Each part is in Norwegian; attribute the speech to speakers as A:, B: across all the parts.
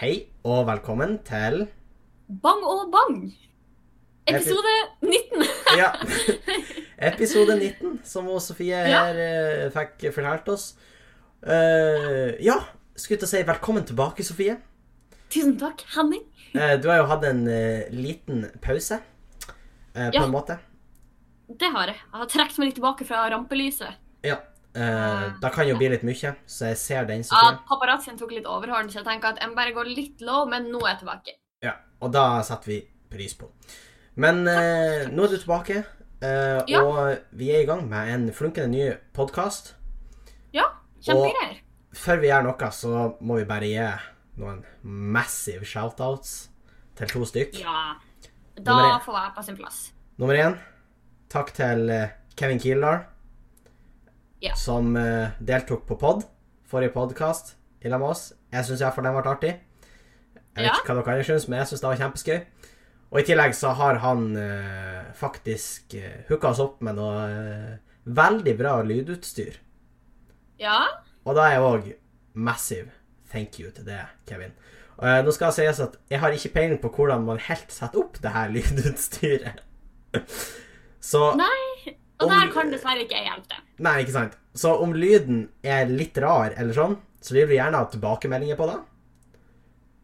A: Hei, og velkommen til
B: Bang og bang! Episode 19.
A: ja, episode 19, som hun Sofie her eh, fikk fortalt oss. Eh, ja, skulle til å si velkommen tilbake, Sofie.
B: Tusen takk, Henning.
A: Eh, du har jo hatt en eh, liten pause, eh, på
B: Ja.
A: en måte.
B: Det har jeg. Jeg har trukket meg litt tilbake fra rampelyset.
A: Ja. Eh, det kan jo bli litt mye, så jeg ser den,
B: Ja,
A: Sofie.
B: Paparazzoen tok litt overhånd, så jeg tenker at jeg bare går litt low, men nå er jeg tilbake.
A: Ja, og da setter vi pris på. Men eh, nå er du tilbake, eh,
B: Ja.
A: og vi er i gang med en flunkende ny podkast.
B: Ja, kjempegreier.
A: før vi gjør noe, så må vi bare gi noen massive shoutouts til to stykk.
B: Ja.
A: Nummer
B: Da
A: én.
B: får jeg på sin plass.
A: Nummer én, takk til eh, Kevin Kildahl,
B: Ja.
A: som eh, deltok på pod, forrige podkast, i lag med oss. Jeg syns iallfall den ble artig. Jeg vet
B: Ja.
A: ikke hva dere andre syns, men jeg syns det var kjempeskøy. Og i tillegg så har han eh, faktisk uh, hooka oss opp med noe eh, veldig bra lydutstyr.
B: Ja,
A: Og da er jeg òg massive thank you til det, Kevin. Og, eh, nå skal det sies at jeg har ikke peiling på hvordan man helt setter opp det her lydutstyret. Så nei.
B: Nei. og
A: Om-
B: der kan dessverre ikke jeg hjelpe deg.
A: ikke sant. Så om lyden er litt rar eller sånn, så vil vi gjerne ha tilbakemeldinger på det.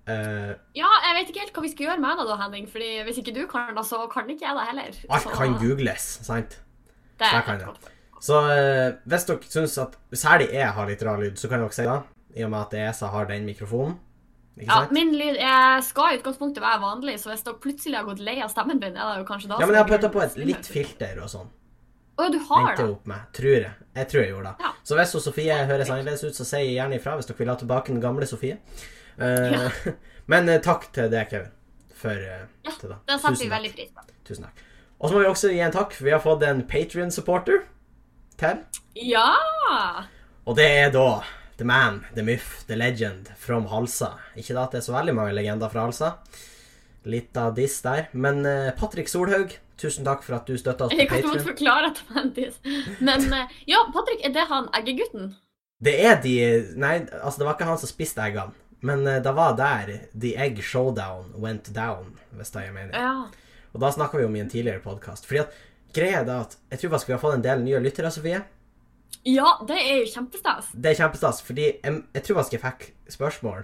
A: Eh,
B: Ja, jeg vet ikke helt hva vi skal gjøre med deg da, Henning, fordi hvis ikke du kan det, så kan ikke jeg det heller.
A: alt
B: Så
A: kan googles, sant?
B: Det
A: Der
B: er
A: kan
B: helt
A: jeg.
B: godt.
A: Så eh, hvis dere syns at særlig jeg har litt rar lyd, så kan dere si det. I og med at det er jeg som har den mikrofonen. Ikke
B: Ja,
A: sant?
B: min lyd jeg skal i utgangspunktet være vanlig, så hvis dere plutselig har gått lei av stemmen min, er det jo kanskje da
A: Ja, men jeg har putta på et
B: Stemmen.
A: litt filter og sånn.
B: Å, du har
A: endte
B: det?
A: opp med, tror jeg. Jeg tror jeg gjorde det.
B: Ja.
A: Så hvis hun Sofie høres annerledes ut, så sier jeg gjerne ifra hvis dere vil ha tilbake den gamle Sofie. Eh, Men eh, takk til deg, Kevin, for eh,
B: Ja,
A: til det.
B: Det setter
A: Tusen
B: vi
A: takk.
B: veldig pris på.
A: Tusen takk. Og så må vi også gi en takk. Vi har fått en Patrion-supporter til.
B: Ja!
A: Og det er da The Man, The Myth, The Legend from Halsa. Ikke da at det er så veldig mange legender fra Halsa. Litt av diss der. Men eh, Patrick Solhaug, tusen takk for at du støtta oss
B: Jeg
A: på
B: kan ikke måtte
A: Patrion.
B: forklare etter Mentis. Men eh, ja, Patrick, er det han eggegutten?
A: Det er de Nei, altså, det var ikke han som spiste eggene. Men eh, det var der The Egg Showdown went down, hvis det gir mening.
B: Ja.
A: Og da snakka vi om i en tidligere podkast. Fordi at greia er da at jeg tror faktisk vi har fått en del nye lyttere, Sofie.
B: ja, det er jo kjempestas.
A: Det er kjempestas, fordi jeg, jeg tror faktisk jeg fikk spørsmål.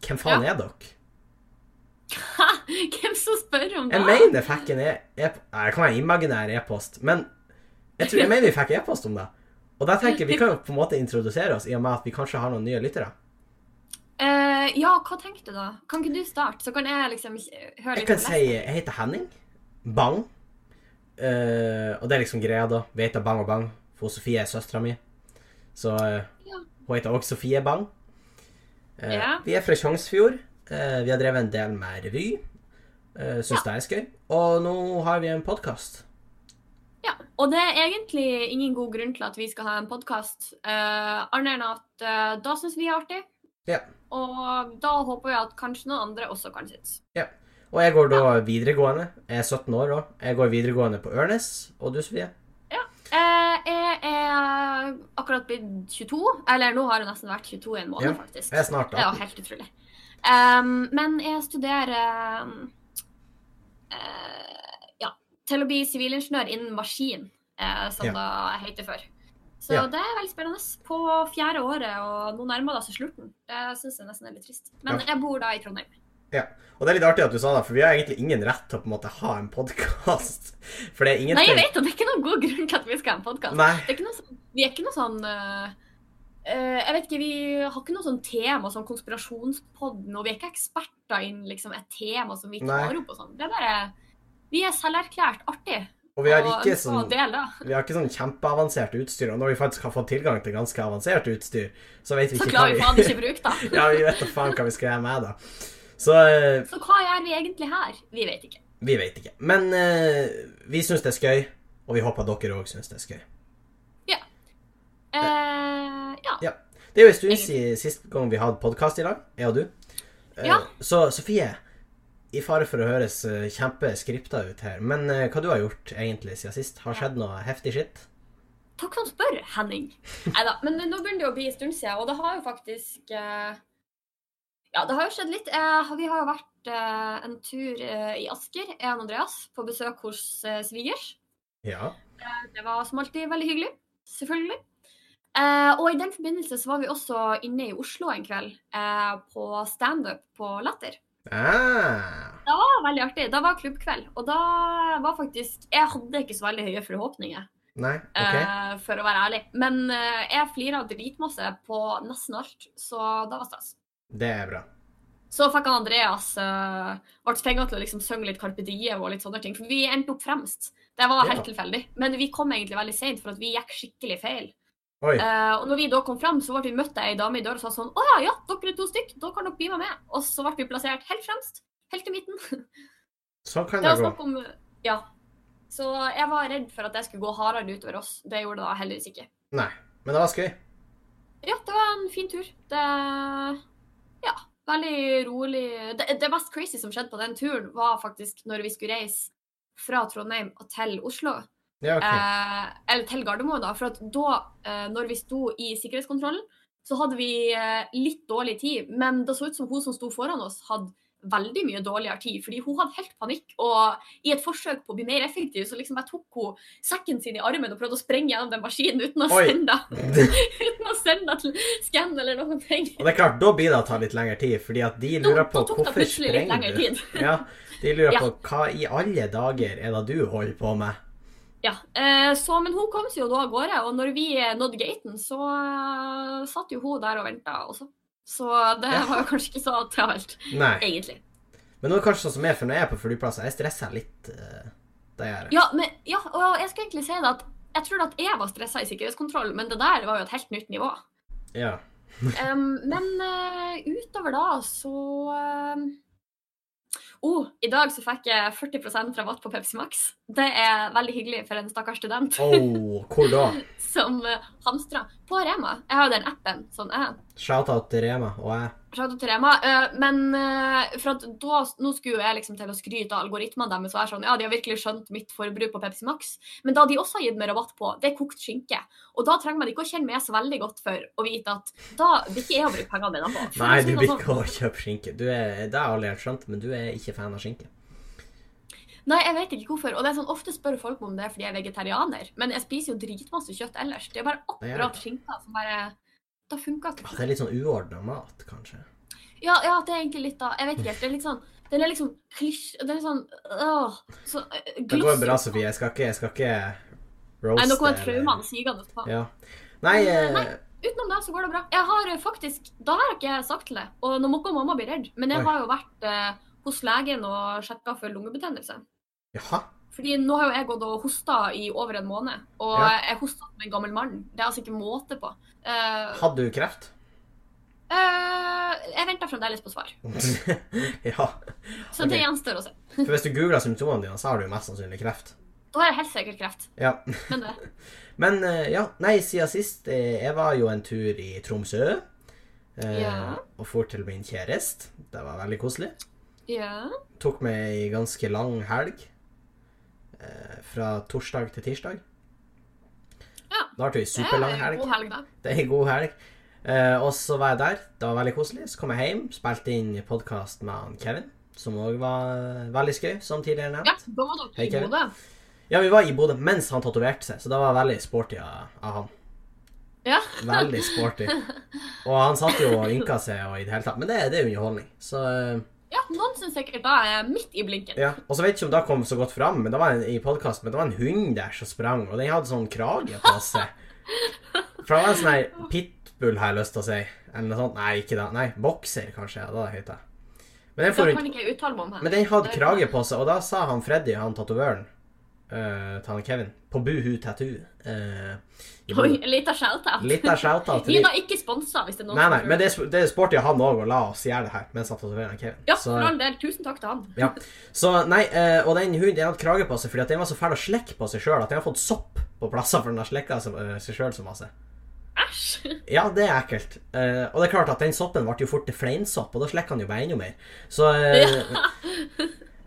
A: Hvem faen er dere?
B: Hæ? Hvem som spør om det?
A: Jeg mener jeg fikk en e-post e Nei, Det kan være imaginær e-post, men jeg, tror, jeg mener vi fikk e-post om det. Og da tenker jeg vi kan jo på en måte introdusere oss, i og med at vi kanskje har noen nye lyttere.
B: Eh, ja, hva tenkte du da? Kan ikke du starte, så kan jeg liksom eh, høre
A: Jeg
B: litt
A: kan
B: om
A: si Jeg heter Henning Bang. Eh, og det er liksom greia, da. Vi heter Bang og Bang, for Sofie er søstera mi. Så eh,
B: Ja.
A: hun heter også Sofie Bang. Eh,
B: Ja.
A: Vi er fra Tjongsfjord. Eh, vi har drevet en del med revy. Uh, Syns det er skøy. Og nå har vi en podkast.
B: Ja, og det er egentlig ingen god grunn til at vi skal ha en podkast, uh, annet enn at eh, da syns vi er artig.
A: Ja.
B: Og da håper vi at kanskje noen andre også kan synes.
A: Og jeg går da videregående. Jeg er 17 år òg. Jeg går videregående på Ørnes. Og du, Sofie?
B: Eh, jeg er akkurat blitt 22, eller nå har jeg nesten vært 22 i en måned,
A: Ja,
B: faktisk.
A: Jeg er snart
B: Det er
A: 18.
B: jo helt utrolig. Ehm, men jeg studerer ehm, eh, ja, til å bli sivilingeniør innen maskin, eh, som
A: Ja.
B: det heter før. Så
A: Ja.
B: det er veldig spennende. På fjerde året, og nå nærmer det seg slutten. Det syns jeg nesten er litt trist. Men
A: Ja.
B: jeg bor da i Trondheim.
A: Og det er litt artig at du sa det, for vi har egentlig ingen rett til å på en måte ha en podkast. For det er ingenting
B: Nei, jeg vet at det er ikke noen god grunn til at vi skal ha en podkast.
A: Nei.
B: Vi er ikke noe sånn eh, eh, Jeg vet ikke, vi har ikke noe sånn tema som konspirasjonspodden, og vi er ikke eksperter innen liksom, et tema som vi
A: Nei.
B: tar opp og sånn. Det er bare Vi er selverklært artig.
A: Og vi har
B: og
A: ikke
B: ønsker å
A: sånn,
B: dele.
A: vi har ikke sånn kjempeavansert utstyr. Og når vi faktisk har fått tilgang til ganske avansert utstyr, så vet vi
B: Så
A: ikke
B: klarer vi
A: hva
B: faen
A: vi
B: ikke bruke det.
A: Ja, vi vet da faen hva vi skal gjøre med det. Så eh,
B: Så hva gjør vi egentlig her? Vi vet ikke.
A: vi vet ikke. Men eh, vi syns det er skøy, og vi håper dere òg syns det er skøy.
B: Eh, ja.
A: Ja. Det er jo en stund siden sist gang vi hadde podkast i dag, jeg og du. Eh,
B: Ja.
A: Så Sofie, i fare for å høres eh, kjempeskripta ut her, men eh, hva du har gjort egentlig siden sist? Har skjedd noe heftig skitt?
B: Takk som spør, Henning. Neida, Men nå begynner det jo å bli en stund siden, og det har jo faktisk eh, Ja, det har jo skjedd litt. Eh, vi har jo vært eh, en tur eh, i Asker, jeg og Andreas, på besøk hos eh, svigers.
A: Ja.
B: Eh, Det var som alltid veldig hyggelig, selvfølgelig. Eh, og i den forbindelse så var vi også inne i Oslo en kveld eh, på standup på Latter.
A: Ah,
B: Det var veldig artig. Da var klubbkveld, og da var faktisk Jeg hadde ikke så veldig høye forhåpninger,
A: nei, ok.
B: eh, for å være ærlig. Men eh, jeg flira dritmasse på nesten alt, så da var stas.
A: Det er bra.
B: Så fikk han Andreas uh, ble tvinga til å liksom synge litt Carpe Diem og litt sånne ting. For vi endte opp fremst. Det var
A: Ja.
B: helt tilfeldig. Men vi kom egentlig veldig seint, for at vi gikk skikkelig feil.
A: Oi.
B: Eh, og når vi da kom frem, så ble vi møtt av ei dame i døra som sa sånn Å ja, ja, dere er to stykk, da kan dere bli med med. Og så ble vi plassert helt fremst. Helt i midten.
A: Sånn kan det
B: Det var
A: gå.
B: snakk om Ja. Så jeg var redd for at jeg skulle gå hardere utover oss. Det gjorde det da heldigvis ikke.
A: Nei, men det var skøy.
B: Ja, det var en fin tur. Det Ja, veldig rolig. Det, det mest crazy som skjedde på den turen, var faktisk når vi skulle reise fra Trondheim og til Oslo.
A: Ja, ok.
B: Eh, eller til Gardermoen, da. For at da, eh, når vi sto i sikkerhetskontrollen, så hadde vi eh, litt dårlig tid. Men det så ut som hun som sto foran oss, hadde veldig mye dårligere tid, fordi hun hadde helt panikk. Og i et forsøk på å bli mer effektiv, så liksom jeg tok hun sekken sin i armen og prøvde å sprenge gjennom den maskinen uten å
A: Oi.
B: sende den uten å sende det til skann eller noen ting.
A: Og det er klart, da blir det å ta litt lengre tid, fordi at de lurer på
B: Da tok det
A: hvorfor
B: plutselig litt
A: sprenger
B: lengre
A: du?
B: tid.
A: Ja, de lurer
B: Ja.
A: på hva i alle dager er det du holder på med?
B: Ja, eh, så, Men hun kom seg jo da av gårde, og når vi nådde gaten, så eh, satt jo hun der og venta også. Så det
A: Ja.
B: var jo kanskje ikke så travelt,
A: Nei.
B: egentlig.
A: Men nå er det kanskje sånn som jeg, for når jeg er på flyplasser, jeg stresser litt. eh, Det gjør jeg.
B: Ja, men, ja, og jeg skulle egentlig si det at jeg tror at jeg var stressa i sikkerhetskontroll, men det der var jo et helt nytt nivå.
A: Ja.
B: Em, men eh, utover da, så um, Oh, i dag så fikk jeg 40 rabatt på Pepsi Max. Det er veldig hyggelig for en stakkars student
A: Oh, hvor da?
B: som uh, hamstrer på Rema. Jeg har jo den appen, sånn er jeg.
A: Shout-out til Rema og jeg.
B: Shout out til Rema. Eh, men eh, for at da, nå skulle jo jeg liksom til å skryte av algoritmene deres og være sånn Ja, de har virkelig skjønt mitt forbruk på Pepsi Max. Men da de også har gitt meg rabatt på, det er kokt skinke. Og da trenger man ikke å kjenne meg så veldig godt for å vite at da vil ikke jeg å bruke pengene mine på. For
A: Nei,
B: å si
A: du
B: det
A: blir
B: sånn.
A: ikke å kjøpe skinke. Du er, det har jeg aldri helt skjønt, men du er ikke fan av skinke.
B: Nei, jeg vet ikke hvorfor. Og det er sånn, Ofte spør folk meg om det er fordi jeg er vegetarianer, men jeg spiser jo dritmasse kjøtt ellers. Det er bare
A: Det er
B: akkurat skinka som bare Da funker
A: Ah,
B: ikke.
A: Det er litt sånn uordna mat, kanskje.
B: Ja, ja, det er egentlig litt da Jeg vet ikke helt. Det er litt sånn Den er liksom klisj... Den er sånn åh, så, øh,
A: Det går bra,
B: glossy.
A: Sofie. Jeg skal ikke, jeg skal ikke roaste.
B: Nei, nå kommer
A: eller-
B: traumene sigende på.
A: Ja. Nei, eh,
B: Nei. Utenom det så går det bra. Jeg har eh, faktisk Da har ikke jeg sagt til deg, og nå må ikke mamma bli redd, men jeg
A: Oi.
B: har jo vært eh, hos legen og sjekka for lungebetennelse.
A: jaha.
B: Fordi nå har jo jeg gått og hosta i over en måned, og
A: Ja.
B: jeg hosta som en gammel mann. Det er altså ikke måte på. Eh,
A: Hadde du kreft?
B: eh, jeg venter fremdeles på svar,
A: ja.
B: så
A: Ok.
B: det gjenstår å se.
A: For hvis du googler symptomene dine, så har du jo mest sannsynlig kreft.
B: Da har jeg helt sikkert kreft,
A: Ja.
B: men det
A: Men eh, ja, nei, siden sist eh, Jeg var jo en tur i Tromsø. eh,
B: Ja.
A: Og for til min kjæreste. Det var veldig koselig.
B: Ja.
A: Tok meg ei ganske lang helg. eh, Fra torsdag til tirsdag.
B: Ja.
A: Da ble det ei
B: Det
A: superlang
B: er en
A: helg.
B: god helg, da.
A: Det er ei god helg. Eh, og så var jeg der. Det var veldig koselig. Så kom jeg hjem, spilte inn podkast med han Kevin, som òg var veldig skøy, som tidligere nevnt.
B: Ja, da var dere
A: Hei,
B: i
A: Kevin.
B: Bodø.
A: Ja, vi var i Bodø mens han tatoverte seg, så det var veldig sporty av, av han.
B: Ja.
A: Veldig sporty. Og han satt jo og ynka seg og i det hele tatt. Men det, det er jo underholdning. Så eh,
B: Ja, noen syns sikkert da er jeg midt i blinken.
A: ja. Og så vet jeg ikke om det kom så godt fram men det var en, i podcasten, men det var en hund der som sprang, og den hadde sånn krage på seg. For det var en sånn her pitbull, har jeg lyst til å si. Eller noe sånt. Nei, ikke det. Nei, bokser, kanskje. Ja, det er høyt, det. Men den
B: Det
A: for rundt
B: kan ikke jeg uttale meg om her.
A: Men den hadde krage på seg, og da sa han Freddy, han tatovøren, eh, til han Kevin, på Buhu Tattoo eh, i
B: Oi,
A: Bodø.
B: en liten shout-out.
A: Litt av shouta
B: Vi
A: til
B: er da
A: de.
B: ikke sponsa, hvis det er noen
A: Nei, nei,
B: som tror
A: men det, er sp- det er sporty av han òg å la oss gjøre det her mens han tatoverer han Kevin.
B: Ja,
A: Så,
B: for all del. Tusen takk til han.
A: ja. så nei, eh, og den hunden den hadde krage på seg fordi at den var så fæl å slekke på seg sjøl at den har fått sopp på plasser for den har slekka seg eh, seg sjøl så masse.
B: Æsj.
A: Ja, det er ekkelt. Eh, og det er klart at den soppen ble jo fort til fleinsopp, og da slekker han jo bare enda mer. Så eh,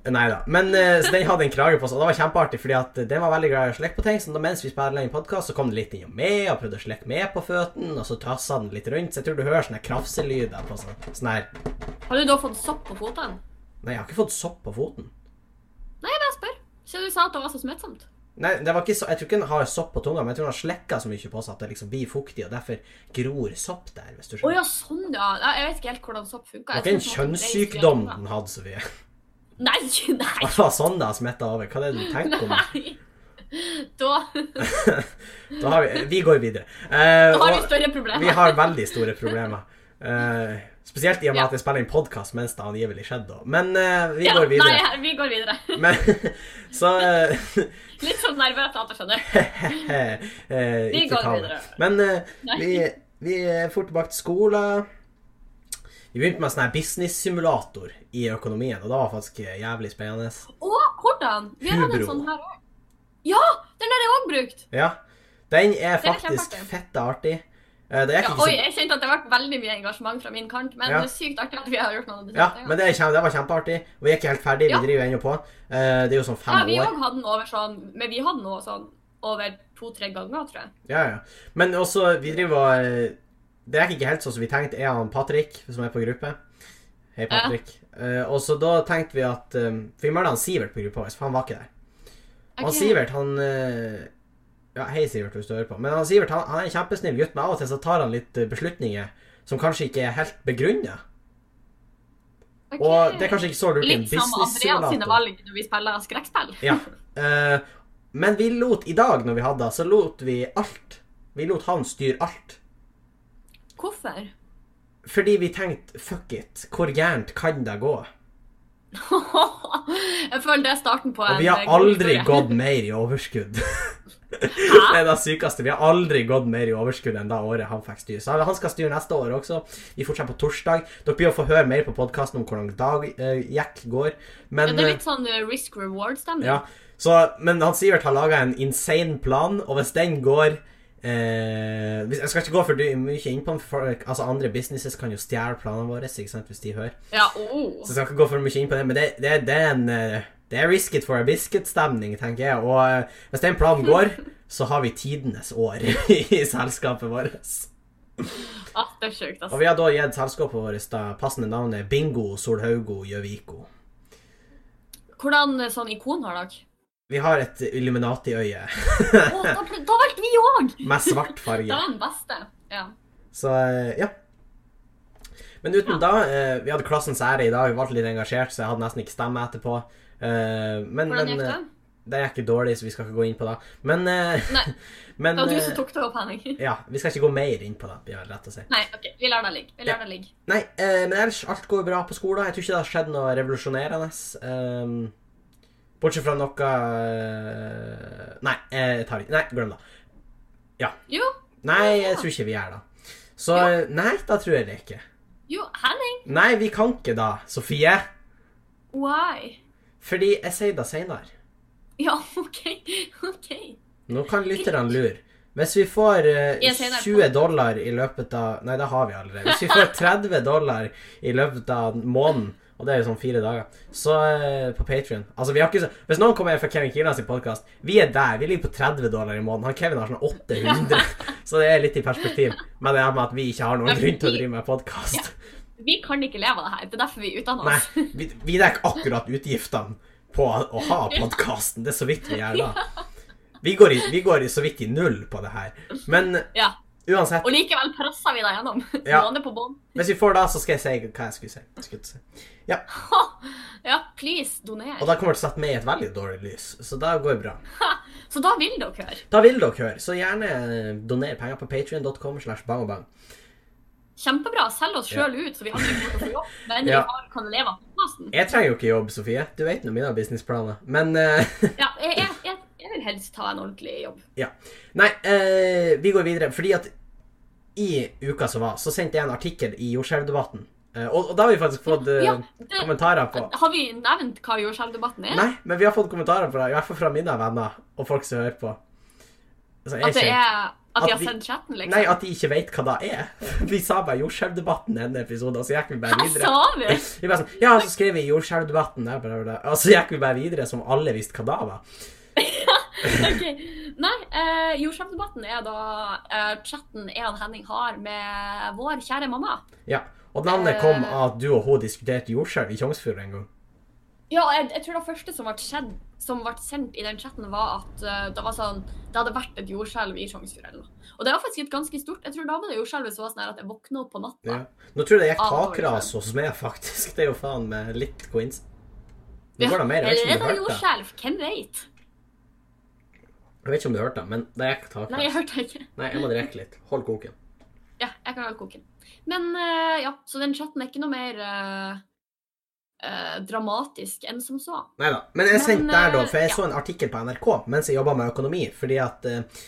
A: Nei da. Men eh, så den hadde en krage på seg, og det var kjempeartig, fordi at den var veldig glad i å slekke på ting. Så da, mens vi spilte inn podkast, så kom den litt innom meg og prøvde å slekke med på føttene, og så tassa den litt rundt. Så jeg tror du hører sånne krafselyder på sånn, sånn her
B: Har du da fått sopp på føttene?
A: Nei, jeg har ikke fått sopp på foten.
B: Jeg spør. Siden du sa at det var så smittsomt.
A: Nei, det var ikke så, Jeg tror ikke den har sopp på tunga, men jeg tror den har slekka så mye på seg at det liksom blir fuktig, og derfor gror sopp der. hvis du
B: Å
A: skjønner.
B: ja, sånn, ja. Nei, Jeg vet ikke helt hvordan sopp funker.
A: Det var ikke
B: Jeg
A: en
B: tror ikke det
A: kjønnssykdom
B: var
A: den hadde, Sofie.
B: en greie
A: Det var sånn det har smitta over. Hva er det du tenker
B: som-
A: om?
B: Nei, nei. Da,
A: Da har vi, vi går videre. Eh,
B: da har vi
A: og
B: større problemer.
A: vi har veldig store problemer. Eh, spesielt i og med
B: Ja.
A: at jeg spiller inn podkast mens det angivelig skjedde. da. Men eh, vi
B: Ja,
A: går videre.
B: Nei, vi går videre.
A: Men, så eh,
B: Litt sånn nervøs at jeg skjønner.
A: eh,
B: Vi
A: ikke
B: går
A: ta det.
B: videre.
A: Men eh,
B: Nei.
A: vi, vi er fort tilbake til skolen. Vi begynte med en sånn her business-simulator i økonomien, og det var faktisk jævlig spennende.
B: Å, hvordan? Vi har hatt en
A: Hubro.
B: sånn her òg. Ja! Den har jeg òg brukt.
A: Ja, Den er
B: Den er
A: faktisk
B: kjempeartig.
A: fette artig. Eh, Det er
B: Ja,
A: ikke
B: oi,
A: så...
B: jeg kjente at det ble veldig mye engasjement fra min kant, men
A: Ja.
B: det er sykt artig at vi har gjort noe av det.
A: Ja, men det, er kjem... det var kjempeartig. Og vi er ikke helt ferdig,
B: Ja.
A: vi driver ennå på. Eh, Det er jo sånn
B: ja,
A: fem
B: vi
A: år.
B: òg hadde den over sånn Men vi hadde den også sånn over to-tre ganger, tror jeg.
A: Ja, ja. Men også, vi driver og eh, Det er ikke helt sånn som vi tenkte. Er han Patrick, som er på gruppe? Hei,
B: Ja.
A: Patrick. Eh, og så da tenkte vi at eh, For vi møtte han Sivert på gruppa vår, for han var ikke der.
B: Er
A: Han
B: ikke-
A: Sivert, han eh, Ja, hei, Sivert, hvis du hører på. Men han Sivert han, han er en kjempesnill gutt, men av og til så tar han litt eh, beslutninger som kanskje ikke er helt begrunna.
B: Ok.
A: Og det er kanskje ikke så lurt i en
B: Litt som Andreas sine
A: business-simulator.
B: valg når vi spiller skrekkspill.
A: Ja. eh, men vi lot i dag, når vi hadde det, så lot vi alt Vi lot han styre alt.
B: Hvorfor?
A: Fordi vi tenkte fuck it, hvor gærent kan det gå?
B: jeg føler det er starten på en
A: Og vi har
B: eh, god
A: aldri
B: historie.
A: gått mer i overskudd.
B: Hæ?
A: Det er det sykeste. Vi har aldri gått mer i overskudd enn det året han fikk styre. Så han skal styre neste år også. Vi fortsetter på torsdag. Dere blir å få høre mer på podkasten om hvordan dag eh, Jack går.
B: Ja,
A: Men,
B: det er litt sånn eh, risk reward-stemning.
A: ja, så, men han Sivert har laga en insane plan, og hvis den går eh, hvis- Jeg skal ikke gå for dy- mye inn på den, for altså andre businesses kan jo stjele planene våre ikke sant, hvis de hører.
B: Ja, oh.
A: Så jeg skal ikke gå for mye inn på det, men det, det, det er en eh, det er risk it for a biscuit-stemning, tenker jeg. Og eh, hvis den planen går, så har vi tidenes år i selskapet vårt.
B: ah, det er sjukt, ass.
A: Og vi har da gitt selskapet vårt det passende navnet Bingo Solhaugo Gjøviko.
B: Hvordan eh, sånn ikon har dere?
A: Vi har et Illuminati-øye
B: Å, da, ble- da valgte vi òg!
A: med svart
B: Det
A: farge.
B: var den beste. Ja.
A: Så eh, ja. Men uten da eh, Vi hadde klassens ære i dag, jeg ble litt engasjert, så jeg hadde nesten ikke stemme etterpå. Eh, men
B: Hvordan
A: men,
B: gikk det?
A: eh, det gikk ikke dårlig, så vi skal ikke gå inn på det. Men, eh,
B: Nei.
A: men
B: Det var du
A: eh,
B: som tok det opp, Henning.
A: Ja, vi skal ikke gå mer inn på det, blir vel rett å si.
B: Nei, OK, vi lar det ligge. Vi lar det ligge.
A: Nei, eh, men ellers, alt går bra på skolen. Jeg tror ikke det har skjedd noe revolusjonerende. ehm, bortsett fra noe eh, Nei, eh, jeg tar ikke Nei, glem det.
B: Jo,
A: Nei, jeg tror ikke vi gjør det. Så eh, nei, da tror jeg det ikke.
B: jo, Henning.
A: Nei, vi kan ikke da, Sofie.
B: Why?
A: Fordi jeg sier det seinere.
B: Ja, OK. OK.
A: Nå kan lytterne lure. Hvis vi får eh,
B: Jeg sier det på-
A: 20 dollar i løpet av Nei, det har vi allerede. Hvis vi får 30 dollar i løpet av måneden, og det er jo sånn fire dager, så eh, på Patrion Altså, vi har ikke så Hvis noen kommer fra Kevin Kiellands podkast Vi er der. Vi ligger på 30 dollar i måneden. Han Kevin har sånn 800. Så det er litt i perspektiv. Men det er med at vi ikke har noen
B: Men
A: grunn til å
B: vi-
A: drive med podkast.
B: Vi kan ikke leve av det her. Det er derfor vi utdanner
A: Nei,
B: oss.
A: vi, vi dekker akkurat utgiftene på å ha podkasten. Det er så vidt vi gjør da. Vi går, i, vi går i så vidt i null på det her. Men
B: Ja.
A: uansett,
B: Og likevel presser vi deg gjennom.
A: Ja.
B: Måned på bånd.
A: hvis vi får det, så skal jeg si hva jeg skulle si. Jeg skulle si.
B: Ja, please, doner.
A: Og da kommer det til å sette meg i et veldig dårlig lys, så da går det bra.
B: Så da vil dere høre.
A: Da vil dere høre, så gjerne eh, doner penger på patreon.com slash bangobang.
B: Kjempebra. Selg oss sjøl ut, så vi aldri kommer til å få jobb. Men
A: Ja.
B: vi har, kan leve av podkasten.
A: Jeg trenger jo ikke jobb, Sofie. Du vet nå mine businessplaner. Men eh,
B: Ja, jeg, jeg, jeg, jeg vil helst ta en ordentlig jobb.
A: Nei, eh, vi går videre. Fordi at i uka som var, så sendte jeg en artikkel i jordskjelvdebatten. Eh, og, og da har vi faktisk fått eh,
B: Ja, det,
A: kommentarer på
B: har vi nevnt hva jordskjelvdebatten er?
A: Nei, men vi har fått kommentarer på det, i hvert fall fra mine venner og folk som hører på. Altså, jeg
B: At det
A: kjenner-
B: er At
A: At
B: vi har
A: vi-
B: sendt chatten, liksom?
A: Nei, at de ikke vet hva det er. Vi sa bare 'Jordskjelvdebatten' i en episode, og så gikk vi bare
B: Hva
A: videre.
B: sa vi?
A: Vi bare sånn, ja, så skrev vi 'Jordskjelvdebatten', der, bla, bla, bla. og så gikk vi bare videre som alle visste hva det var.
B: Ok. Nei, eh, jordskjelvdebatten er da eh, chatten jeg og Henning har med vår kjære mamma.
A: Ja, Og den andre kom
B: Eh.
A: av at du og hun diskuterte jordskjelv i Tjongsfjord en gang.
B: Ja, jeg, jeg tror det første som ble, skjedd, som ble sendt i den chatten, var at eh, det, var sånn, det hadde vært et jordskjelv i Sjongsfjord. eller noe. Og det var faktisk et ganske stort. Jeg tror da var det jordskjelvet så var sånn her at jeg våkna opp på natta.
A: Ja. Nå tror jeg det gikk
B: Ah, det var
A: takras hos meg, faktisk. Det er jo faen meg litt coins. Nå
B: Ja,
A: går det mer, jeg vet
B: Eller
A: ikke om
B: er det
A: du hørte det.
B: jordskjelv? Hvem veit?
A: Jeg vet ikke om du hørte det, men det gikk takras.
B: Nei, jeg hørte det ikke.
A: Nei, jeg må drikke litt. Hold koken.
B: Ja, jeg kan vel koke den. Men eh, ja, så den chatten er ikke noe mer eh, eh, dramatisk enn som så.
A: Neida, Men jeg
B: Men,
A: sendte der, da,
B: eh,
A: for jeg
B: ja.
A: så en artikkel på NRK mens jeg jobba med økonomi, fordi at eh,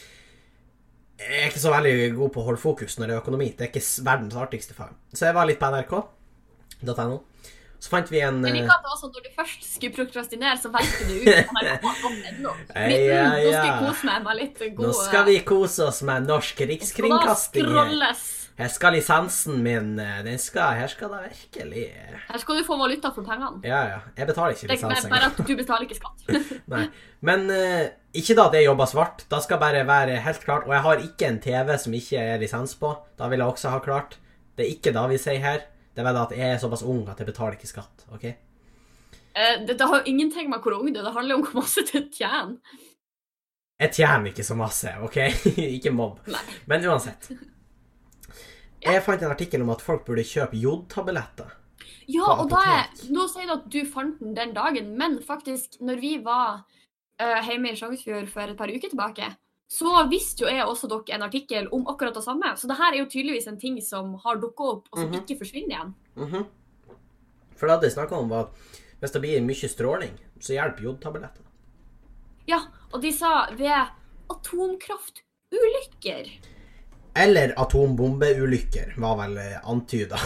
A: Jeg er ikke så veldig god på å holde fokus når det er økonomi. Det er ikke s- verdens artigste fag. Så jeg var litt på nrk.no. Så fant vi en
B: Jeg
A: eh,
B: liker at det var sånn når du først skulle prokrastinere, så velger du ut nrk.no.
A: Ei,
B: Nå
A: ei,
B: skal jeg
A: ei.
B: kose meg med litt god eh,
A: Nå skal vi kose oss med norsk rikskringkasting.
B: Og da
A: her.
B: scrolles.
A: Her skal lisensen min eh, den skal, Her skal det virkelig eh,
B: Her skal du få valuta for pengene.
A: Ja, ja. Jeg betaler ikke
B: Det er
A: lisens
B: bare- bare at du betaler ikke skatt.
A: Nei. Men eh, ikke da at jeg jobber svart. Da skal bare være helt klart. Og jeg har ikke en TV som ikke er lisens på. Da vil jeg også ha klart. Det er ikke da vi sier her. Det er bare det at jeg er såpass ung at jeg betaler ikke skatt. ok?
B: Eh, Dette har jo ingenting med hvor ung du er, det handler om hvor masse du tjener.
A: Jeg tjener ikke så masse, OK? ikke mobb.
B: Nei.
A: Men uansett. Jeg fant en artikkel om at folk burde kjøpe jodtabletter.
B: Ja,
A: På
B: og da er,
A: apotek.
B: nå sier du at du fant den den dagen, men faktisk, når vi var eh, hjemme i Sjongsfjord for et par uker tilbake, så visste jo jeg også dere en artikkel om akkurat det samme. Så det her er jo tydeligvis en ting som har dukka opp, og som
A: Mhm.
B: ikke forsvinner igjen.
A: Mhm. For det hadde jeg snakka om, var at hvis det blir mye stråling, så hjelper jodtabletter.
B: Ja, og de sa ved atomkraftulykker.
A: Eller atombombeulykker, var vel eh, antyda.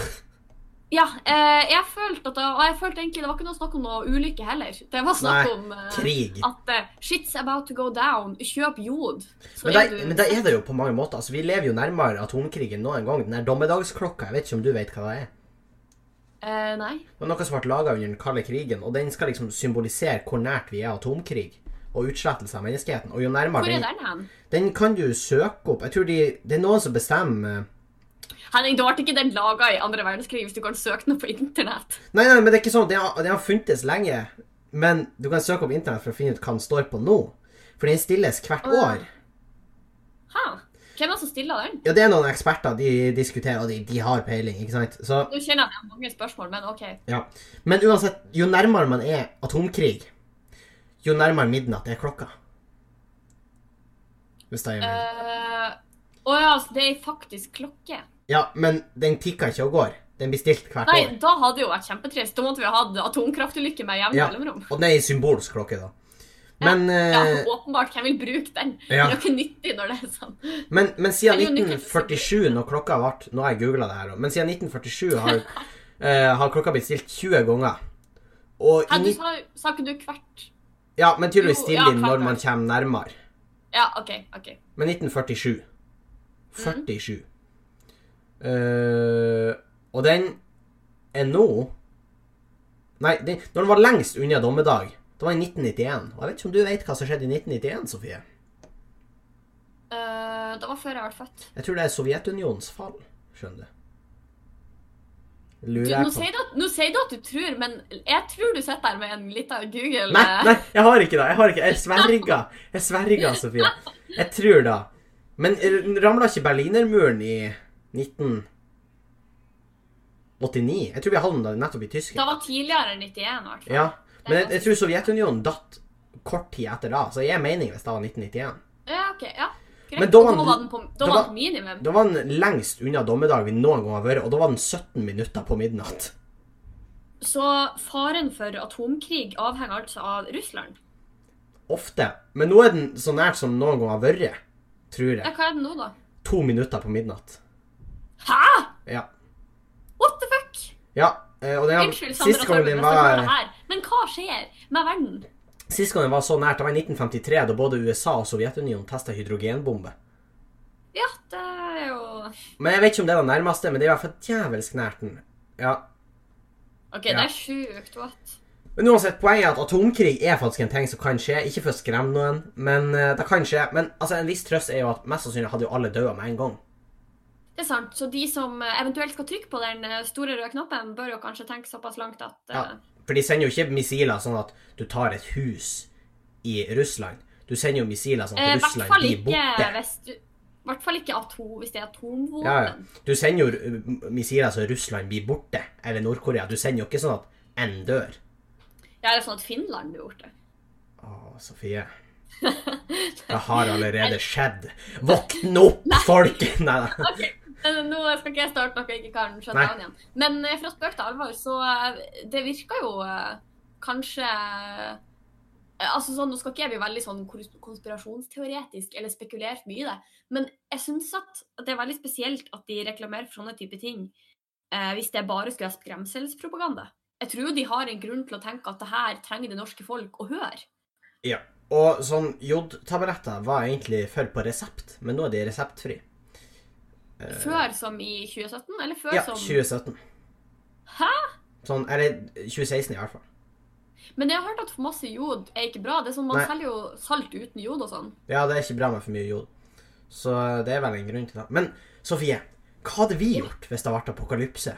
B: Ja, eh, jeg følte at det, og jeg følte egentlig det var ikke noe snakk om noe ulykke heller. Det var snakk
A: Nei,
B: om eh,
A: Krig.
B: at eh, shit's about to go down, kjøp jod. Så
A: Men da,
B: er du-
A: men da er det jo på mange måter. Altså, vi lever jo nærmere atomkrigen nå en gang. Den der dommedagsklokka, jeg vet ikke om du vet hva det er.
B: Eh, nei.
A: Det var noe som ble laga under den kalde krigen, og den skal liksom symbolisere hvor nært vi er atomkrig og utslettelse av menneskeheten. Og jo
B: Hvor
A: nærmere
B: er
A: den
B: den hen?
A: Den kan du søke opp. Jeg tror de Det er noen som bestemmer eh,
B: Henning, da ble ikke den laga i andre verdenskrig, hvis du kan søke den på internett.
A: Nei, nei, men det er ikke sånn. Den har, den har funtes lenge. Men du kan søke opp internett for å finne ut hva den står på nå. For den stilles hvert
B: Å, ja.
A: år.
B: Hæ? Hvem er det som stiller den?
A: Ja, det er noen eksperter. De diskuterer, og de, de har peiling, ikke sant? Så
B: Nå kjenner jeg at jeg har mange spørsmål, men OK.
A: Ja. Men uansett, jo nærmere man er atomkrig, jo nærmere midnatt er klokka. Hvis det gir mening.
B: Eh, Å ja, så det er faktisk klokke.
A: Ja, men den tikker ikke og går. Den blir stilt hvert
B: Nei,
A: år.
B: da hadde det jo vært kjempetrist. Da måtte vi ha hatt atomkraftulykker med jevne
A: Ja.
B: mellomrom.
A: Og den er i symbolsk klokke, da. Men,
B: Ja,
A: eh,
B: åpenbart. Hvem vil bruke den?
A: Ja.
B: Det er jo ikke nyttig når det er sånn.
A: men, men siden
B: Det er jo nyttig-
A: 1947, når klokka ble Nå har jeg googla det her, da. Men siden 1947 har, eh, har klokka blitt stilt 20 ganger. Og
B: Hæ,
A: i,
B: du
A: ni-
B: sa, sa ikke du hvert?
A: ja, men tydeligvis
B: Jo,
A: stille
B: ja,
A: inn
B: hvert
A: når man kommer nærmere.
B: Ja, OK. ok.
A: Men 1947. 47. Eh, og den er nå Nei, den, når den var lengst unna dommedag, det var i 1991. Og jeg vet ikke om du vet hva som skjedde i 1991, Sofie?
B: Eh, det var før jeg ble født.
A: Jeg tror det er Sovjetunionens fall, skjønner du.
B: Du,
A: Lurer
B: nå,
A: jeg på
B: sier du at, nå sier du at du tror, men jeg tror du sitter der med en liten Google
A: Nei,
B: eh,
A: nei, jeg har ikke det. Jeg har ikke Jeg sverger. Jeg sverger, Sofie. Jeg tror det. Men r- ramla ikke Berlinermuren i 1989? Jeg tror vi hadde den da nettopp i Tyskland.
B: Det var tidligere enn 91, i hvert
A: Ja,
B: fall.
A: men jeg, jeg tror Sovjetunionen datt kort tid etter da, så jeg er meningen hvis det var 1991.
B: Ja, OK. Ja. Greit.
A: Men da var
B: Og
A: den-
B: da var den på, da
A: da
B: var
A: var-
B: den på minimum.
A: Da var den lengst unna dommedag vi noen gang har vært, og da var den 17 minutter på midnatt.
B: Så faren for atomkrig avhenger altså av Russland.
A: Ofte. Men nå er den så nært som noen gang har vært, tror
B: Ja,
A: jeg.
B: hva er den nå, da?
A: To minutter på midnatt.
B: Hæ?!
A: Ja.
B: What the fuck?
A: Ja, eh, og den,
B: Unnskyld, Sandra
A: sist gang
B: Torben,
A: den
B: hvis jeg hører
A: var
B: det her, men hva skjer med verden?
A: Sist gang den var så nært, det var i 1953, da både USA og Sovjetunionen testa hydrogenbombe.
B: Ja, det er jo
A: Men jeg vet ikke om det er det nærmeste, men det er i hvert fall djevelsk nært den. Ja.
B: OK,
A: Ja.
B: det er sjukt. What?
A: Men uansett, poenget er at atomkrig er faktisk en ting som kan skje. Ikke for å skremme noen, men eh, det kan skje. Men altså, en viss trøst er jo at mest sannsynlig hadde jo alle dødd med en gang.
B: Det er sant. Så de som eh, eventuelt skal trykke på den eh, store røde knappen, bør jo kanskje tenke såpass langt at eh,
A: Ja. For de sender jo ikke missiler sånn at du tar et hus i Russland. Du sender jo missiler sånn
B: eh,
A: at
B: I hvert
A: Russland
B: fall
A: blir
B: ikke
A: borte.
B: hvis du i hvert fall ikke atom, hvis det er atomvåpen.
A: Ja, ja. Du sender jo r- missiler så Russland blir borte, eller Nord-Korea. Du sender jo ikke sånn at én dør.
B: Ja, det er sånn at Finland har gjort det.
A: Å, Sofie. Det har allerede skjedd. Våkn opp, folk! Nei da.
B: Ok, men Eh, Nå skal ikke jeg starte noe jeg ikke kan skjønne
A: Nei.
B: av igjen. Men eh, fra spøk til alvor, så eh, det virker jo eh, kanskje eh, altså sånn, Nå skal ikke jeg bli veldig sånn kons- konspirasjonsteoretisk eller spekulere for mye i det, men jeg syns at at det er veldig spesielt at de reklamerer for sånne type ting eh, hvis det bare skulle være skremselspropaganda. Jeg tror jo de har en grunn til å tenke at det her trenger det norske folk å høre.
A: Ja. Og sånn jodtabletter var egentlig før på resept, men nå er de reseptfri. Eh,
B: Før som i 2017, eller før
A: Ja,
B: som
A: 2017.
B: Hæ?
A: Sånn, eller 2016 i hvert fall.
B: Men jeg har hørt at for masse jod er ikke bra. Det er sånn, Man
A: Nei.
B: selger jo salt uten jod og sånn.
A: Ja, det er ikke bra med for mye jod. Så det er vel en grunn til det. Men Sofie, hva hadde vi gjort hvis det hadde vært apokalypse?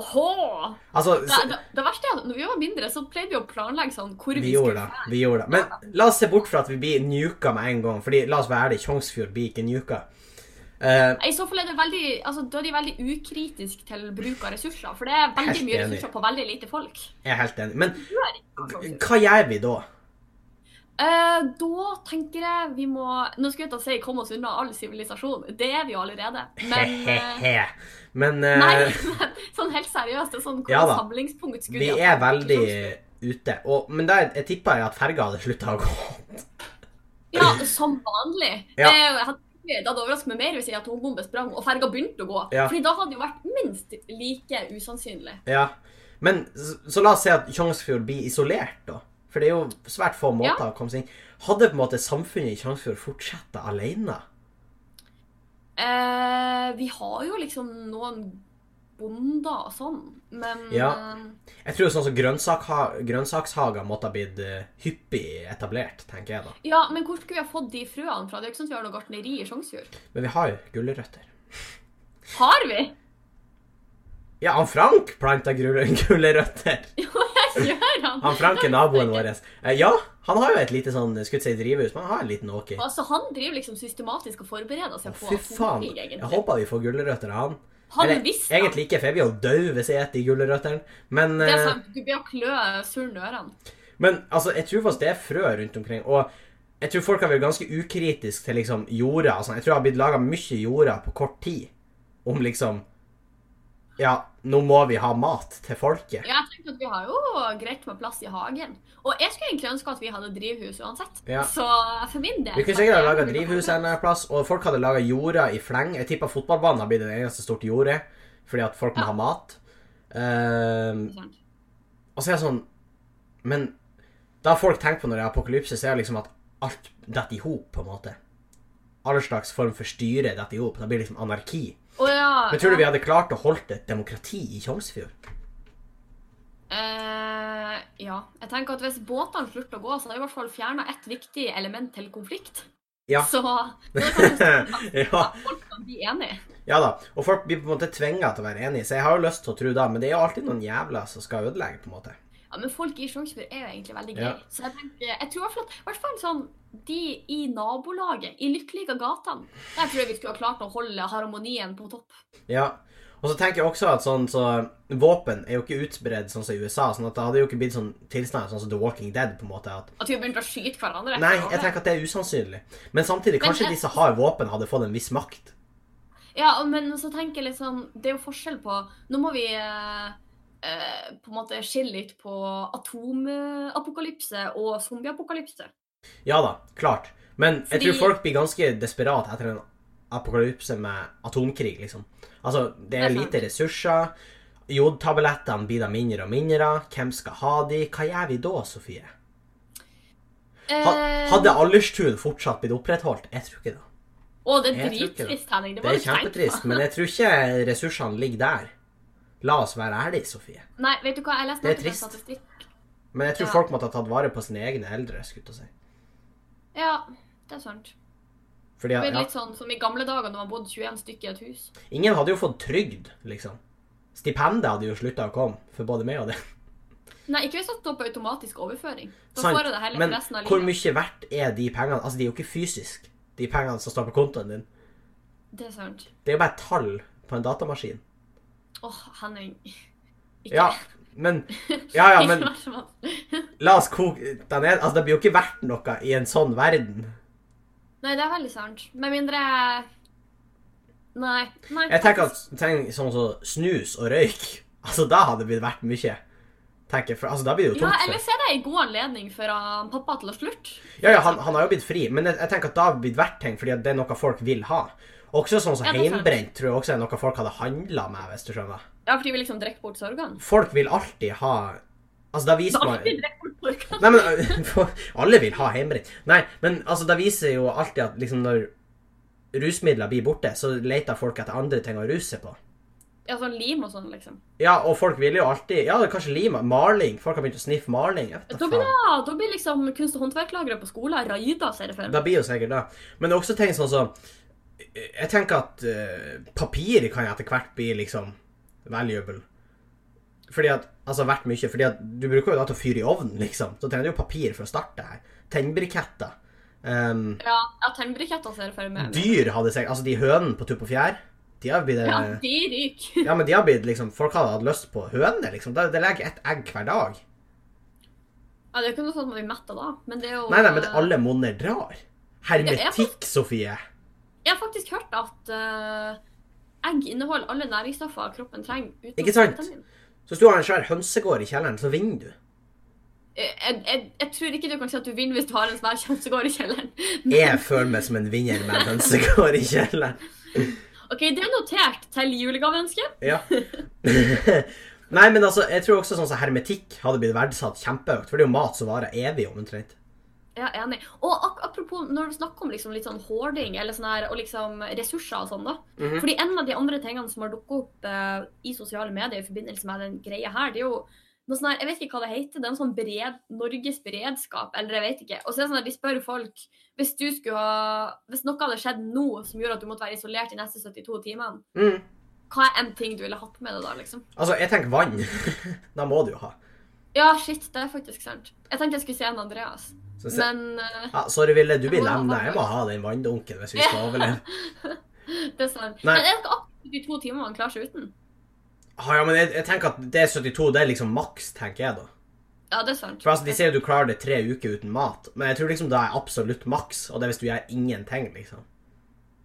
B: Åhå!
A: Altså,
B: Det,
A: s-
B: det, det verste er at når vi var mindre, så pleide vi å planlegge sånn hvor vi,
A: vi
B: skulle
A: gjorde det. Vi gjorde det. Men la oss se bort fra at vi blir nuka med en gang. Fordi la oss være ærlige, Tjongsfjord blir ikke nuka. Eh,
B: I så fall er det veldig, altså, da er de veldig ukritiske til bruk av ressurser. For det er veldig
A: Helt
B: mye
A: enig.
B: ressurser på veldig lite folk.
A: jeg er helt enig. Men
B: Du er ikke sånn.
A: hva gjør vi da?
B: Eh, da tenker jeg vi må Nå skulle jeg til å si 'kom oss unna all sivilisasjon'. Det er vi jo allerede. Men eh,
A: He-he-he. Men eh,
B: Nei, men sånn helt seriøst. Det er sånn hvor
A: Ja da.
B: samlingspunkt skulle
A: vi
B: vi
A: er
B: hatt?
A: veldig ute. Og, men der, jeg tippa at ferga hadde slutta å gå.
B: Ja, som vanlig.
A: Ja.
B: Det, er jo- hadde- det hadde overrasket meg mer hvis en atombombe sprang og ferga begynte å gå.
A: Ja.
B: Fordi da hadde det jo vært minst like usannsynlig.
A: Ja. Men så, så la oss si at Tjongsfjord blir isolert, da. For det er jo svært få måter å komme seg inn. Hadde på en måte samfunnet i Tjongsfjord fortsatt alene?
B: Eh, vi har jo liksom noen bonder og sånn, men
A: Ja.
B: eh,
A: Jeg tror sånn som grønnsakha- grønnsakshager måtte ha blitt eh, hyppig etablert, tenker jeg da.
B: ja, men hvor skulle vi ha fått de frøene fra? Det er jo ikke sånn at vi har noe gartneri i Sjongsfjord.
A: Men vi har jo gulrøtter.
B: Har vi?
A: Ja, han Frank planta gul- gulrøtter.
B: Jo, jeg gjør han!
A: Han Frank er naboen vår. Eh, Ja, han har jo et lite sånn skutt seg i drivhus, men han har en liten åker.
B: Altså, han driver liksom systematisk og forbereder seg på
A: Fy faen.
B: atomkrig,
A: Jeg
B: egentlig.
A: håper vi får gulrøtter av han.
B: Han
A: Eller,
B: visste det.
A: Egentlig ikke, for jeg blir jo død hvis jeg spiser de gulrøttene. Men,
B: Det er
A: eh,
B: sant, du blir å klø surn ørene.
A: men altså, jeg tror faktisk det er frø rundt omkring. Og jeg tror folk har vært ganske ukritiske til liksom, jorda. og sånn. Jeg tror det har blitt laga mye jorda på kort tid. Om liksom Ja, nå må vi ha mat til folket.
B: Ja, jeg tenkte at vi har jo greit med plass i hagen. Og jeg skulle egentlig ønske at vi hadde drivhus uansett.
A: Ja.
B: Så eh, for min del
A: Vi kunne sikkert ha laga drivhus en eller annen plass, og folk hadde laga jorda i fleng. Jeg tipper fotballbanen har blitt det eneste stort jorde, fordi at folk må ha mat. Uh, Og så er jeg sånn Men da folk tenker på når det er apokalypse, så er det liksom at alt detter i hop, på en måte. All slags form for styre detter i hop. Det blir liksom anarki.
B: Å ja.
A: Men tror du vi
B: ja.
A: hadde klart å holde et demokrati i Tjongsfjord?
B: Eh, ja. Jeg tenker at hvis båtene slutter å gå, så har jeg i hvert fall fjerna ett viktig element til konflikt.
A: Ja.
B: Så nå er det kanskje
A: ja,
B: folk kan bli enige.
A: ja da. Og folk blir på en måte tvinga til å være enige, så jeg har jo lyst til å tro det, men det er jo alltid noen jævler som skal ødelegge, på en måte.
B: Ja, men folk i Sjongsfjord er jo egentlig veldig greie.
A: Ja.
B: Så jeg tenker, jeg tror i hvert fall at- i hvert fall sånn de i nabolaget, i lykkelige gatene, der tror jeg vi skulle ha klart å holde harmonien på topp.
A: Ja. Og så tenker jeg også at sånn så Våpen er jo ikke utbredd sånn som i USA, sånn at det hadde jo ikke blitt sånn tilstand sånn som The Walking Dead, på en måte, at
B: At vi har begynt å skyte hverandre.
A: Nei, jeg tenker at det er usannsynlig. Men samtidig,
B: Men
A: kanskje
B: jeg-
A: de som har våpen, hadde fått en viss makt.
B: Ja, og- men så tenker jeg litt sånn Det er jo forskjell på Nå må vi eh, eh, på en måte skille litt på atomapokalypse og zombieapokalypse.
A: Ja da, klart. Men jeg
B: Fordi-
A: tror folk blir ganske desperate etter en apokalypse med atomkrig, liksom. Altså, det
B: Det er
A: er
B: sant.
A: lite ressurser. Jodtablettene blir da mindre og mindre. Hvem skal ha de? Hva gjør vi da, Sofie? Ha-
B: Eh,
A: Hadde alderstuen fortsatt blitt opprettholdt? Jeg tror ikke det.
B: Å, det
A: Jeg tror
B: er
A: ikke det.
B: drittrist, Henning. Det,
A: Det
B: må
A: er
B: du tenke på.
A: kjempetrist, men jeg tror ikke ressursene ligger der. La oss være ærlige, Sofie.
B: Nei, vet du hva, jeg leste
A: Det er
B: nettopp en
A: trist.
B: statistikk.
A: Men jeg tror
B: Ja.
A: folk måtte ha tatt vare på sine egne eldre, skulle jeg til å si.
B: Ja, det er sant.
A: Fordi,
B: Det
A: at-
B: blir
A: ja,
B: litt sånn som i gamle dager når man bodde 21 stykker i et hus.
A: ingen hadde jo fått trygd, liksom. Stipendet hadde jo slutta å komme for både meg og det.
B: Nei, ikke hvis det står på automatisk overføring. Da
A: Sant,
B: får jeg det heller
A: Men
B: resten av
A: hvor mye
B: livet.
A: verdt er de pengene? Altså, de er jo ikke fysisk, de pengene som står på kontoen din.
B: Det er sant.
A: Det er jo bare tall på en datamaskin.
B: Åh, Henning. Ikke.
A: Ja, men Ja, ja, men
B: Ikke vær så vanskelig.
A: la oss koke den ned. Altså, det blir jo ikke verdt noe i en sånn verden.
B: Nei, det er veldig sant. Med mindre jeg- Nei. nei
A: Jeg tenker at tenk, sånn som snus og røyk Altså, da hadde det blitt verdt mye. Tenker, jeg, for, altså, da blir det jo
B: Ja,
A: tungt. for-
B: eller så er det en god anledning for han pappa til å slutte.
A: Ja, ja, han, han har jo blitt fri, men jeg, jeg tenker at da har blitt verdt ting, fordi at det er noe folk vil ha. Også sånn som
B: Ja, det er sant.
A: heimbrent tror jeg også er noe folk hadde handla med, hvis du skjønner.
B: Ja, for de vil liksom drikke bort sorgene.
A: Folk vil alltid ha Altså, da
B: Da
A: viser
B: vil
A: man
B: de drikke bort sorgene.
A: Nei, men for, Alle vil ha heimbrent. Nei, men altså, da viser jo alltid at liksom når rusmidler blir borte, så leter folk etter andre ting å ruse seg på.
B: Ja, sånn lim og sånn, liksom.
A: Ja, og folk vil jo alltid Ja, kanskje lima. Maling. Folk har begynt å sniffe maling. Jeg vet da
B: Da blir,
A: faen.
B: det, da blir liksom kunst- og håndverklagere på skolen raida, ser jeg for meg.
A: Da blir jo sikkert det. Men det er også ting sånn som Jeg tenker at eh, papir kan etter hvert bli liksom valuable. Fordi at, altså verdt mye, fordi at du bruker jo da til å fyre i ovnen, liksom. Så trenger du jo papir for å starte her. Tennbriketter. Ehm,
B: Ja, ja tennbriketter ser jeg for meg.
A: dyr hadde sikkert Altså, de hønene på Tupp og Fjær, de har blitt
B: Ja,
A: eh,
B: de ryker.
A: Ja, men de har blitt liksom Folk hadde hatt lyst på høne, liksom. Det, det legger ett egg hver dag.
B: Ja, det er jo ikke noe sånn at man blir mett av da, men det er jo
A: Nei, nei, men det, alle monner drar. Hermetikk, Sofie.
B: Jeg har faktisk hørt at eh, egg inneholder alle næringsstoffer kroppen trenger. utenom
A: Ikke sant?
B: vitamin.
A: Så hvis du har en svær hønsegård i kjelleren, så vinner du.
B: Jeg, Eh, jeg, jeg, jeg tror ikke du kan si at du vinner hvis du har en svær kjønnsegård i kjelleren.
A: Jeg føler meg som en vinner med en hønsegård i kjelleren.
B: OK, det er notert til julegaveønsket.
A: Ja. Nei, men altså, jeg tror også sånn som hermetikk hadde blitt verdsatt kjempehøyt. For det er jo mat som varer evig, omtrent.
B: Ja, enig. Og ak apropos når du snakker om liksom litt sånn hoarding eller sånn her, og liksom ressurser og sånn, da.
A: Mhm.
B: Fordi en av de andre tingene som har dukket opp eh, i sosiale medier i forbindelse med den greia her, det er jo noe sånn her, jeg vet ikke hva det heter, det er en sånn bered, Norges beredskap, eller jeg vet ikke. Og så er det sånn her, de spør folk, hvis du skulle ha, hvis noe hadde skjedd nå som gjorde at du måtte være isolert de neste 72 timene,
A: Mm.
B: hva er en ting du ville hatt med deg da, liksom?
A: Altså, jeg tenker vann. da må du jo ha.
B: Ja, shit, det er faktisk sant. Jeg tenkte jeg skulle si en Andreas,
A: Så se-
B: men eh,
A: ja, sorry, Ville. Du
B: Jeg
A: blir
B: må ha
A: levna.
B: vann.
A: Jeg må ha den vanndunken hvis vi skal overleve.
B: det er sant.
A: Nei.
B: Men er det ikke akkurat de to timene man klarer seg uten?
A: Ah, ja, men jeg, jeg tenker at det er 72, det er liksom maks, tenker jeg da.
B: Ja, det er sant.
A: For altså, De sier jo du klarer det tre uker uten mat, men jeg tror liksom det er absolutt maks. Og det er hvis du gjør ingenting, liksom.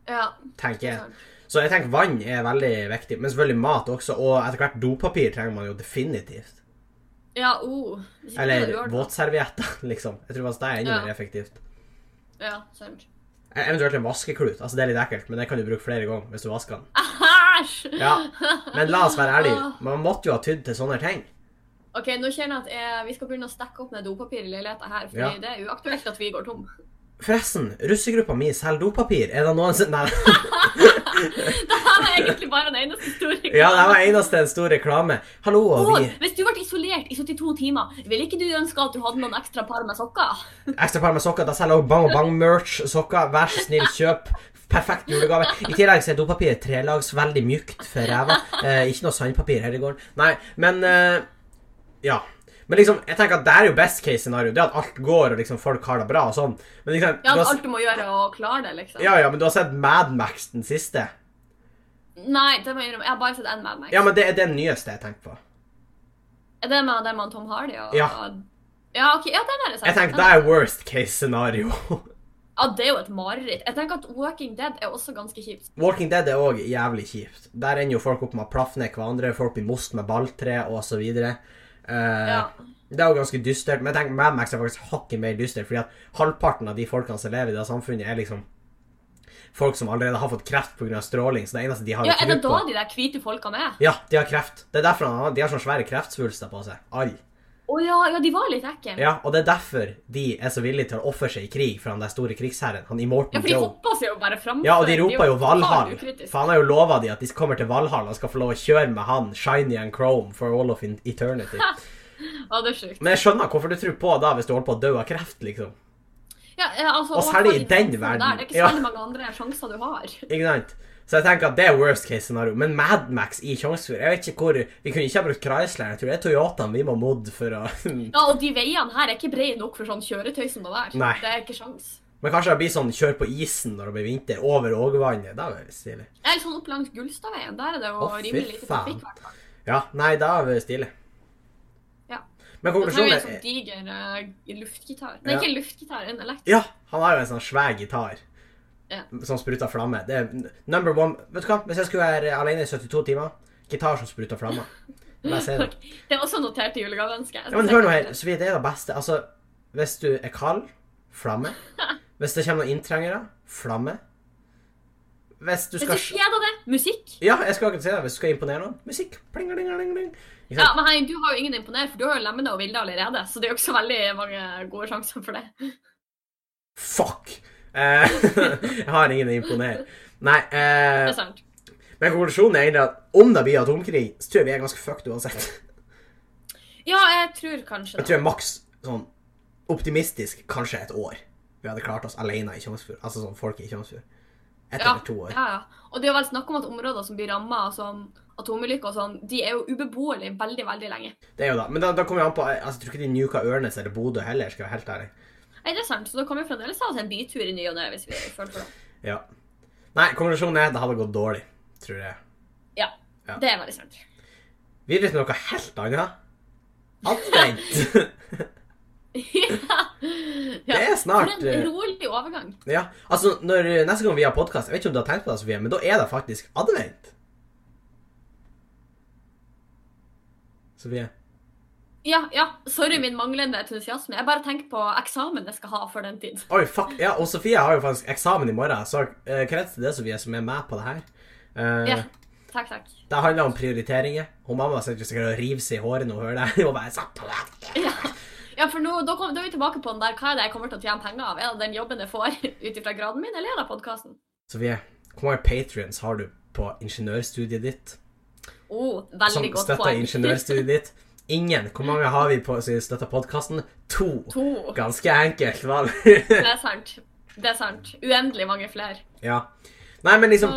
B: Ja,
A: Tenker
B: det er
A: jeg.
B: sant.
A: Så jeg tenker vann er veldig viktig, men selvfølgelig mat også. Og etter hvert dopapir trenger man jo definitivt.
B: Ja, oh. Hvis ikke det
A: Eller
B: gjør det.
A: våtservietter, liksom. Jeg tror faktisk det er enda
B: Ja.
A: mer effektivt.
B: Ja, sant.
A: E- Eventuelt en vaskeklut. Altså, det er litt ekkelt, men det kan du bruke flere ganger hvis du vasker den.
B: Æsj!
A: Ja, Men la oss være ærlige. Man måtte jo ha tydd til sånne ting.
B: OK, nå kjenner jeg at jeg, vi skal begynne å stekke opp med dopapir i leiligheten her, for
A: Ja.
B: det er uaktuelt at vi går tom.
A: Forresten, russegruppa mi selger dopapir. Er det noen som Nei.
B: Det her var egentlig bare den eneste historien.
A: Ja, det var eneste en stor reklame. Hallo, og
B: Og
A: vi
B: hvis du ble isolert i 72 timer, ville ikke du ønske at du hadde noen ekstra par med sokker?
A: Ekstra par med sokker. Da selger jeg også Bang Bang-merch. Sokker. Vær så snill, kjøp. Perfekt julegave. I tillegg så er dopapir trelags veldig mjukt for ræva. Eh, ikke noe sandpapir her i gården. Nei, men eh, Ja. Men liksom, jeg tenker at det er jo best case scenario. Det er at alt går, og liksom folk har det bra og sånn. Men liksom,
B: Ja,
A: du
B: at
A: har,
B: alt du må gjøre, er å klare det, liksom.
A: ja, ja, men du har sett Mad Max den siste?
B: Nei, det må jeg innrømme. Jeg har bare sett én Mad Max.
A: Ja, men det er den nyeste jeg tenker på.
B: Er det med den med Tom Hardy og
A: Ja.
B: Ja, ok, ja, den er det sant.
A: Jeg tenker
B: Den
A: det
B: er-
A: er worst case scenario.
B: Ja, det er jo et mareritt. Jeg tenker at Walking Dead er også ganske kjipt.
A: Walking Dead er òg jævlig kjipt. Der ender jo folk opp med å plafne hverandre, folk blir most med balltre og så videre. Eh,
B: Ja.
A: Det er jo ganske dystert, men jeg tenker Mad Max er faktisk hakket mer dystert, fordi at halvparten av de folkene som lever i det samfunnet, er liksom folk som allerede har fått kreft pga. stråling, så det eneste de har
B: Ja,
A: å
B: er
A: tro
B: det da
A: på
B: de der hvite folkene er?
A: Ja, de har kreft. Det er derfor han har, de har sånne svære kreftsvulster på seg. All.
B: Å ja, ja, de var litt ekle. Ja,
A: Ja, og det er derfor de er så villige til å ofre seg i krig for han der store krigsherren, han Immortan
B: for de
A: Joe.
B: hoppa seg jo bare fram.
A: Ja, og de roper jo Valhall. For
B: Faen.
A: han har jo lova de at de kommer til Valhall og skal få lov å kjøre med han, Shiny and Chrome, for all of in- eternity.
B: Ja, det er sjukt.
A: Men jeg skjønner hvorfor du tror på da, hvis du holder på å dø av kreft, liksom.
B: Ja, eh, altså,
A: Og særlig i
B: overfor de
A: den
B: dansene
A: verden.
B: Der. Det er ikke
A: Ja.
B: så veldig mange andre sjanser du har.
A: Ikke sant? Så jeg tenker at det er worst case scenario. Men Mad Max i Tjongsfjord Jeg vet ikke hvor Vi kunne ikke ha brukt Chrysler. Jeg tror det er Toyotaen vi må modde for å
B: Ja, Og de veiene her er ikke brede nok for sånn kjøretøy som det der.
A: Nei.
B: Det er ikke sjans.
A: Men kanskje det blir sånn kjør på isen når det blir vinter, over Ågvannet. Det er veldig stilig.
B: Eller sånn opp langs Gullstadveien. Der er det jo
A: Å, fy
B: rimelig lite
A: faen.
B: trafikk. i hvert fall.
A: Ja, nei, det er veldig stilig.
B: Ja.
A: Men
B: Da trenger vi en
A: konklusjonen
B: sånn
A: er
B: diger eh, luftgitar. Nei,
A: Ja.
B: ikke luftgitar, en elektrisk.
A: Ja, han har jo en sånn svær gitar.
B: Ja.
A: Som spruter flamme. Det er n- number one Vet du hva, hvis jeg skulle være alene i 72 timer Gitar som spruter flamme. La meg si det.
B: Det er også notert i julegaveønsket.
A: Ja, men hør nå her, Sofie, det er det beste. Altså, hvis du er kald, flamme. Hvis det kommer noen inntrengere, flamme. Hvis du
B: Hvis
A: skal
B: du kjeder det, musikk.
A: Ja, jeg skal akkurat si det. Hvis du skal imponere noen, musikk. Pling, pling, pling, pling. Ikke
B: Ja,
A: sant?
B: men hei, Du har jo ingen å imponere, for du har jo Lemmene og Vilde allerede. Så det er jo ikke så veldig mange gode sjanser for det.
A: Fuck! Eh, jeg har ingen å imponere. Nei,
B: Det
A: eh,
B: er sant.
A: men konklusjonen er egentlig at om det blir atomkrig, så tror jeg vi er ganske fucked uansett.
B: Ja, jeg tror kanskje
A: Jeg
B: det.
A: tror jeg maks sånn optimistisk kanskje et år. Vi hadde klart oss alene i Tjongsfjord. Altså sånn folk i Tjongsfjord. Ett
B: Ja,
A: eller to år.
B: Ja, ja. Og det er jo vel snakk om at områder som blir ramma av sånn atomulykker og sånn, de er jo ubeboelige veldig, veldig lenge.
A: Det er jo da. Men da, da kommer jeg an på altså, Jeg tror ikke de nuka Ørnes eller Bodø heller, skal jeg være helt ærlig.
B: Nei, det er sant, så da kan vi fremdeles ha oss en bytur i ny og ne hvis vi føler for det.
A: Ja. Nei, konklusjonen er at det hadde gått dårlig, tror jeg.
B: Ja.
A: Ja.
B: Det er veldig sant.
A: Videre til liksom noe helt annet. Advent!
B: ja.
A: Det er snart,
B: For
A: eh,
B: en rolig overgang.
A: ja. Altså, når, neste gang vi har podkast, jeg vet ikke om du har tenkt på det, Sofie, men da er det faktisk advent. Sofie?
B: Ja, ja. Sorry min manglende entusiasme. Jeg bare tenker på eksamen jeg skal ha for den tid.
A: Oi, fuck. Ja, og Sofie har jo faktisk eksamen i morgen, så eh, krets til det, Sofie, som er med på det her. Eh,
B: Ja. Takk, takk.
A: Det handler om prioriteringer. Hun mamma sitter sikkert og river seg i håret når hun hører det. Hun bare satt på det.
B: Ja, ja for nå da, kom, da er vi tilbake på den der hva er det jeg kommer til å tjene penger av? Er det den jobben jeg får ut ifra graden min, eller er det podkasten?
A: Sofie, hvor mange patrions har du på ingeniørstudiet ditt?
B: Oh,
A: Som
B: veldig godt
A: støtter
B: poeng.
A: ingeniørstudiet ditt? Ingen. Hvor mange har vi på som støtter podkasten? To.
B: To.
A: Ganske enkelt, vel?
B: Det er sant. Det er sant. Uendelig mange flere.
A: ja. Nei, men
B: Så
A: liksom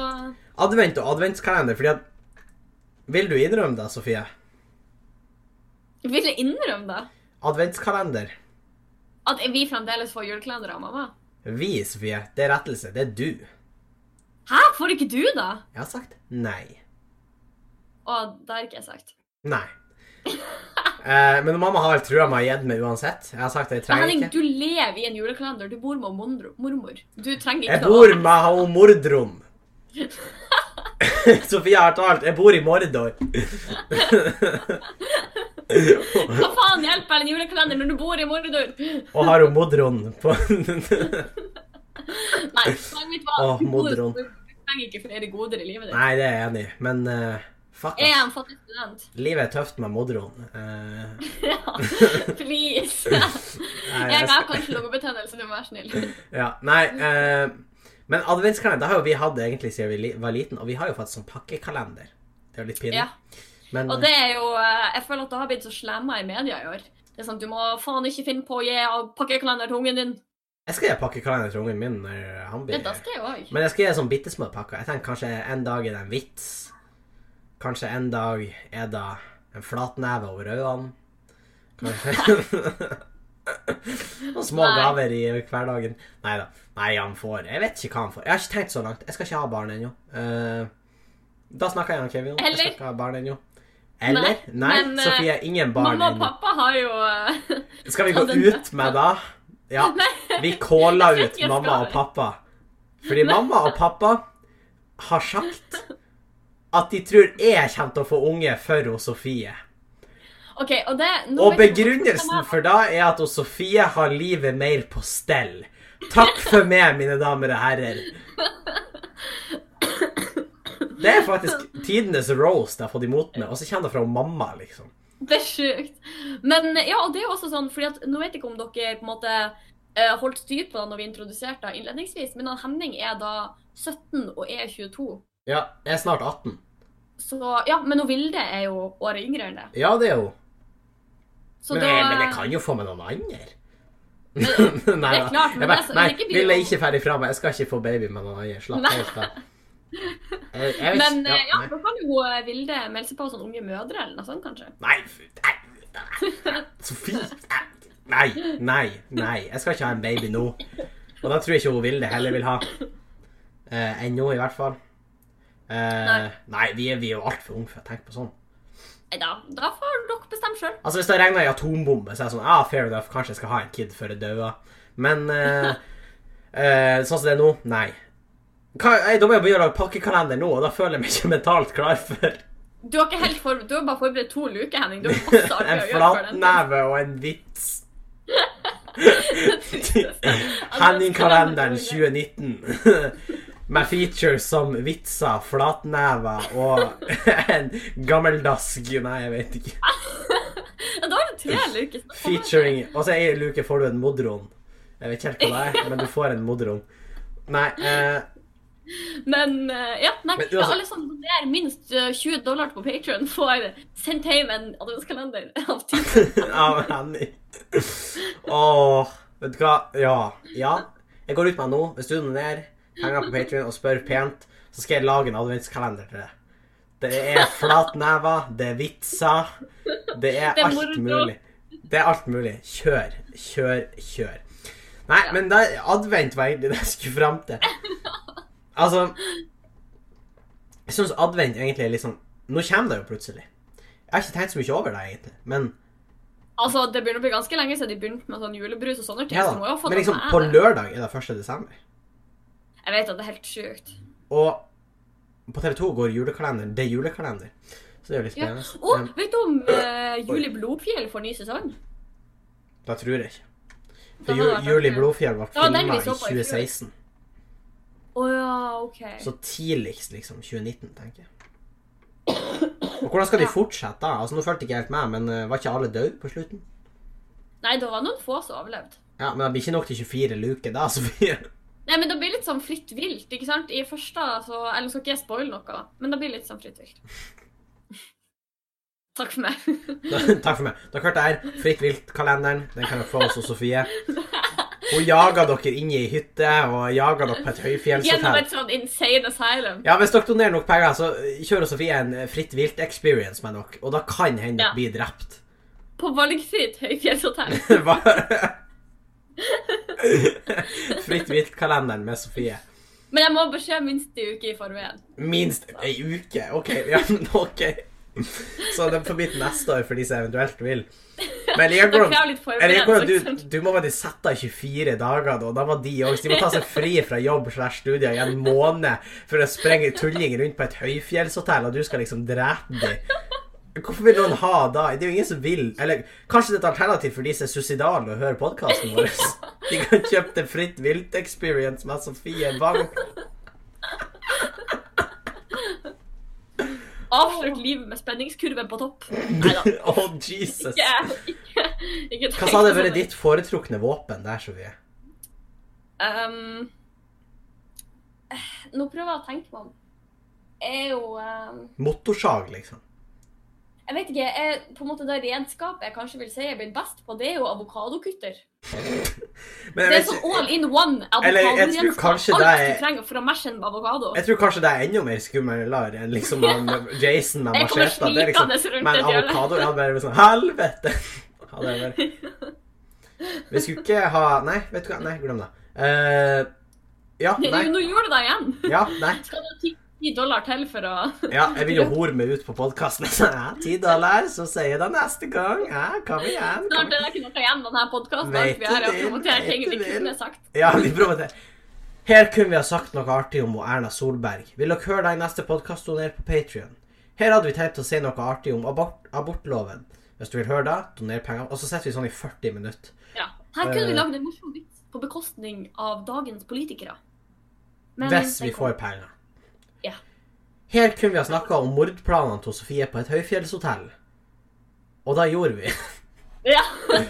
A: Advent og adventskalender, fordi at Vil du innrømme det, Sofie?
B: vil jeg innrømme det.
A: Adventskalender.
B: At vi fremdeles får julekalender av mamma.
A: Vi, Sofie, det er rettelse. Det er du.
B: Hæ, får ikke du, da?
A: Jeg har sagt nei.
B: Å, det har ikke jeg sagt.
A: Nei. Eh, men mamma har trua meg og gitt meg uansett. Jeg har sagt at jeg
B: Men
A: trenger
B: Henning,
A: ikke.
B: du lever i en julekalender. Du bor med mondro- mormor. Du trenger ikke
A: Jeg bor
B: noe.
A: med ho mordron. Sofia har talt. Jeg bor i Mordor.
B: Hva faen hjelper en julekalender når du bor i Mordor?
A: Og har hun modron på
B: Nei, poenget mitt var
A: Åh,
B: du bor-
A: Mordron.
B: Du trenger ikke flere goder i livet ditt.
A: Nei, det er jeg enig i, men eh, fuck
B: Jeg er
A: ass.
B: en fattig student.
A: Livet er tøft med modron. Eh,
B: Please.
A: nei, jeg
B: Jeg har
A: skal-
B: kanskje lungebetennelse, du må være snill.
A: Ja, nei eh, Men adventskalender det har jo vi hatt egentlig siden vi li- var liten, og vi har jo fått sånn pakkekalender. Det er jo litt pinlig.
B: Ja.
A: Men
B: Og det er jo eh, Jeg føler at det har blitt så slemma i media i år. Det er sånn, Du må faen ikke finne på å gi av pakkekalender til ungen din.
A: jeg skal gi pakkekalender til ungen min når han blir
B: Det, det skal jeg òg.
A: Men jeg skal gi sånn bitte små pakker. Jeg tenker kanskje en dag er det en vits. Kanskje en dag er det en flatneve over øynene. Kanskje Noen små
B: Nei.
A: gaver i hverdagen. Nei da. Nei, han får Jeg vet ikke hva han får. Jeg har ikke tenkt så langt. Jeg skal ikke ha barn ennå. Eh, da snakker jeg med Kevin. Jeg
B: Eller?
A: skal ikke ha barn ennå. Eller? Nei,
B: men, eh,
A: Sofie. Ingen barn
B: Mamma og
A: ennå.
B: pappa har jo eh,
A: Skal vi gå
B: hadde
A: ut med da? Ja. Vi kåla
B: Jeg
A: ut
B: tror ikke jeg
A: mamma
B: skal.
A: og pappa. Fordi mamma og pappa har sagt at de tror jeg kommer til å få unge for hun Sofie.
B: OK, og det nå
A: Og
B: vet jeg ikke hva som
A: begrunnelsen
B: er-
A: for da er at hun Sofie har livet mer på stell. Takk for meg, mine damer og herrer. Det er faktisk tidenes roast jeg har fått imot meg, og så kommer det fra hun mamma, liksom.
B: Det er sjukt. Men ja, og det er jo også sånn, fordi at nå vet jeg ikke om dere på en måte eh, holdt styr på det når vi introduserte det innledningsvis, men han Henning er da 17 og er 22.
A: Ja, jeg er snart 18.
B: Så ja, men hun Vilde er jo året yngre enn det.
A: Ja, det er hun.
B: Så
A: Men,
B: da
A: men jeg kan jo få meg noen andre.
B: Men,
A: nei,
B: Det er klart,
A: jeg
B: men altså,
A: bare,
B: det er så-
A: nei,
B: det er ikke mye
A: ville
B: om-
A: ikke ferdig fra meg. Jeg skal ikke få baby med noen andre. Slapp
B: Nei.
A: helt av. Jeg- jeg vet
B: men
A: ikke-
B: eh, ja,
A: nei.
B: da kan jo eh, Vilde melde seg på som unge mødre eller noe sånt, kanskje.
A: Nei, fy- nei, nei. Sofie! nei, Nei, nei, nei. Jeg skal ikke ha en baby nå. Og da tror jeg ikke hun vil det heller vil ha. Eh, Ennå, i hvert fall. Eh, nei.
B: Nei.
A: vi er, vi er jo altfor unge for å tenke på sånn.
B: Nei da, da får dere bestemme sjøl.
A: Altså, Hvis det regner i atombombe, så er jeg sånn ah, Fair enough, kanskje jeg skal ha en kid før jeg dauer. Men eh, eh, sånn som det er nå, nei. Hva, jeg, da må jeg begynne å lage pakkekalender nå, og da føler jeg meg ikke mentalt klar for
B: Du har ikke helt for, du har bare forberedt to luker, Henning. Du har masse
A: en
B: arbeid å gjøre før den.
A: flatneve og en vits.
B: Henning-kalenderen
A: Henning-kalenderen 2019. Med features som vitser, flatnever og en gammeldask Nei, jeg vet ikke.
B: Ja, da har du tre luker. så da kommer det.
A: Featuring Og så ei luke får du en modron. Jeg vet ikke helt hva det er, men du får en modron. Nei, eh,
B: Men eh, ja, nei,
A: Men
B: ja,
A: altså-
B: alle som donerer minst eh, 20 dollar på Patreon, får sendt hjem en adventskalender av typen.
A: av Henning. Åh, vet du hva? Ja. Ja. Jeg går ut med nå. Hvis du donerer, henger på Patreon og spør pent, så skal jeg lage en adventskalender til deg. Det er flatnever, det er vitser, det er
B: Det er
A: alt
B: moro.
A: mulig. Det er alt mulig. Kjør, kjør, kjør. Nei, men det, advent var egentlig det jeg skulle fram til. Altså Jeg syns advent egentlig er litt sånn Nå kommer det jo plutselig. Jeg har ikke tenkt så mye over det, egentlig, men
B: Altså, det begynner å bli ganske lenge siden de begynte med sånn julebrus og sånne ting.
A: Ja
B: så må
A: da.
B: jeg jo få
A: Men
B: det
A: liksom,
B: med
A: på
B: det.
A: lørdag er det 1. desember.
B: Jeg vet at det er helt sjukt.
A: Og på TV 2 går julekalenderen. Det er julekalender. Så det er jo litt
B: Ja.
A: spennende.
B: Å,
A: Um,
B: vet du om eh, Julie Blodfjell får ny sesong?
A: Da tror jeg ikke.
B: Da
A: For
B: hadde
A: ju,
B: det vært
A: Juli
B: artig.
A: Blodfjell var
B: var den
A: filma
B: vi
A: i
B: så på i fjor.
A: 2016.
B: Å ja, OK.
A: Så tidligst liksom 2019, tenker jeg. Og hvordan skal de
B: Ja.
A: fortsette da? Altså, Nå fulgte ikke jeg helt med, men eh, var ikke alle døde på slutten?
B: Nei, det var noen få som overlevde.
A: Ja, Men det blir ikke nok til 24 luker da, Sofie.
B: Nei, men det blir litt sånn fritt vilt, ikke sant? I første så Eller skal ikke jeg spoile noe, men det blir litt sånn fritt vilt. Takk for meg.
A: Da- Takk for meg. Dere hørte her. Fritt vilt-kalenderen. Den kan dere få hos Sofie. Hun jager dere inn i ei hytte og jager dere på et
B: Gjennom
A: høyfjellshotell.
B: et sånn insane asylum.
A: Ja, hvis dere donerer nok penger, så kjører Sofie en fritt vilt experience med dere, og da kan hende dere
B: Ja.
A: blir drept.
B: På valgfritt høyfjellshotell.
A: Hva- fritt vilt-kalenderen med Sofie.
B: Men jeg må ha beskjed minst en uke i forveien.
A: Minst ei uke. OK. Ja, men ok. Så det er forbi til neste år for de som eventuelt vil. Men jeg
B: Det
A: liker hvordan-
B: krever litt
A: jeg liker hvordan
B: forberedelse.
A: du, du må bare sette av 24 dager, da, og da må de òg De må ta seg fri fra jobb slash studier i en måned for å sprenge tullinger rundt på et høyfjellshotell, og du skal liksom drepe dem. Hvorfor vil noen ha da? Det er jo ingen som vil. Eller kanskje det er et alternativ for de som er suicidale og hører podkasten vår. De kan kjøpe det Fritt vilt experience med Sofie Bang.
B: Avslutt livet med spenningskurven på topp. Nei da.
A: Oh, Jesus.
B: Ikke, ikke, ikke
A: Hva sa det
B: tenk
A: vært
B: sånn.
A: ditt foretrukne våpen der, Sofie?
B: Um, eh, nå prøver jeg å tenke meg om. Er jo um,
A: Motorsag, liksom.
B: Jeg vet ikke. Jeg, på en måte Det redskapet jeg kanskje vil si jeg er blitt best på, det er jo avokadokutter.
A: Men
B: Det er
A: vet
B: sånn
A: ikke-
B: all in one
A: Eller, jeg tror
B: avokadoredskap. Alt
A: kanskje det er-
B: du trenger for å mashe en avokado.
A: Jeg tror kanskje det er enda mer skummelar enn liksom han Jason med
B: Jeg kommer
A: macheta. Det er liksom
B: snikende rundt
A: Men
B: et hjørne.
A: avokado Han bare sånn Helvete! Han er bare Vi skulle ikke ha Nei, vet du hva? Nei, glem det. Eh, ja, nei.
B: Nå gjorde du det igjen.
A: Ja, nei.
B: Skal du ha 10 dollar til for å
A: Ja, jeg vil jo hore meg ut på podkasten. Ja, ti dollar, så sier jeg det neste gang. Ja, kom igjen.
B: Snart
A: Kom.
B: er det ikke noe igjen denne podkasten.
A: Vet
B: Alt vi har
A: du
B: er å
A: det?
B: promotere ting vi
A: Vet du det?
B: kunne sagt.
A: Ja, vi promoterer. Her kunne vi ha sagt noe artig om Erna Solberg. Vil dere høre deg i neste podkast doner på Patrion? Her hadde vi tenkt å si noe artig om abort abortloven. Hvis du vil høre det, doner penger. Og så setter vi sånn i 40 minutter.
B: Ja. Her kunne
A: Eh.
B: vi lagd en morsom vits på bekostning av dagens politikere. Men
A: Hvis vi
B: det
A: får penger.
B: Ja.
A: Her kunne vi ha snakka om mordplanene til Sofie på et høyfjellshotell. Og da gjorde vi.
B: Ja.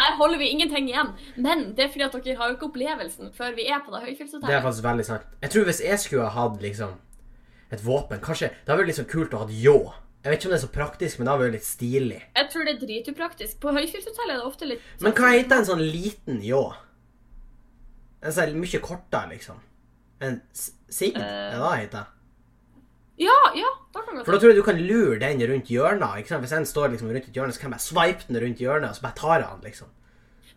B: Der holder vi ingenting igjen. Men det er fordi at dere har jo ikke opplevelsen før vi er på
A: Det
B: det
A: er
B: høyfjellshotellet.
A: faktisk veldig sant. Jeg tror hvis jeg skulle ha hatt liksom et våpen Kanskje Det hadde vært liksom sånn kult å ha hatt ljå. Jeg vet ikke om det er så praktisk, men det hadde vært litt stilig.
B: Jeg tror det er dritupraktisk. På høyfjellshotell er det ofte litt
A: Men hva heter en sånn liten ljå? En sånn mye kortere, liksom. En s- sigd?
B: Eh.
A: Er det det det heter?
B: Ja, ja, da kan vi
A: For da tror jeg du kan lure den rundt hjørnet. ikke sant? Hvis en står liksom rundt et hjørne, så kan jeg bare sveipe den rundt hjørnet, og så bare tar jeg han, liksom.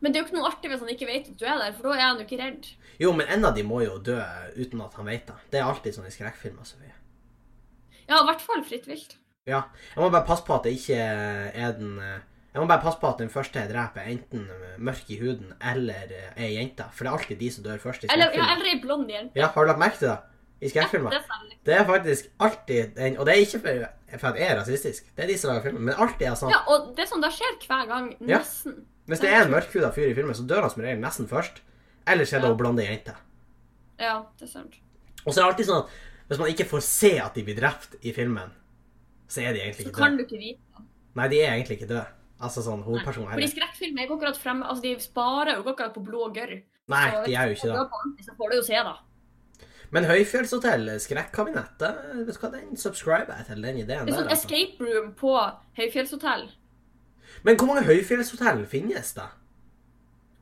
B: Men det er jo ikke noe artig hvis han ikke vet at du er der, for da er han jo ikke redd.
A: Jo, men en av de må jo dø uten at han vet det. Det er alltid sånn i skrekkfilmer. Sofie.
B: Ja, i hvert fall fritt vilt.
A: Ja. Jeg må bare passe på at det ikke er den eh, Jeg må bare passe på at den første jeg dreper, er enten eh, mørk i huden eller eh, er jenta. For det er alltid de som dør først i
B: Eller, ja,
A: skrekkfilmer.
B: eller ei blond jente.
A: Ja, har du lagt merke til det? I skrekkfilmer.
B: Det er særlig.
A: Det er faktisk alltid den Og det er ikke for, for at jeg er rasistisk, det er de som lager filmen, men alltid er sånn
B: Ja, og det er sånn, det skjer hver gang,
A: Ja.
B: nesten.
A: Hvis det er en mørkhuda fyr i filmen, så dør han som regel nesten først. Ellers er det
B: Ja.
A: hun blonde jenta.
B: Ja, det er sant.
A: Og så er det alltid sånn at hvis man ikke får se at de blir drept i filmen, så er de egentlig
B: Så
A: ikke
B: kan
A: døde.
B: du ikke vite.
A: Nei, de er egentlig ikke døde. Altså sånn hovedpersonen
B: Fordi
A: her.
B: skrekkfilmer er ikke akkurat fremme, altså de sparer jo ikke akkurat på blå og gørr.
A: Nei,
B: Så
A: de er jo
B: hvis du
A: ikke det.
B: drar på ordentlig, Så får du jo se, da.
A: Men Høyfjellshotell, Skrekkabinettet, vet du hva, den subscriber jeg til den ideen
B: Det er
A: der.
B: sånn
A: Altså.
B: escape room på høyfjellshotell.
A: Men hvor mange høyfjellshotell finnes det?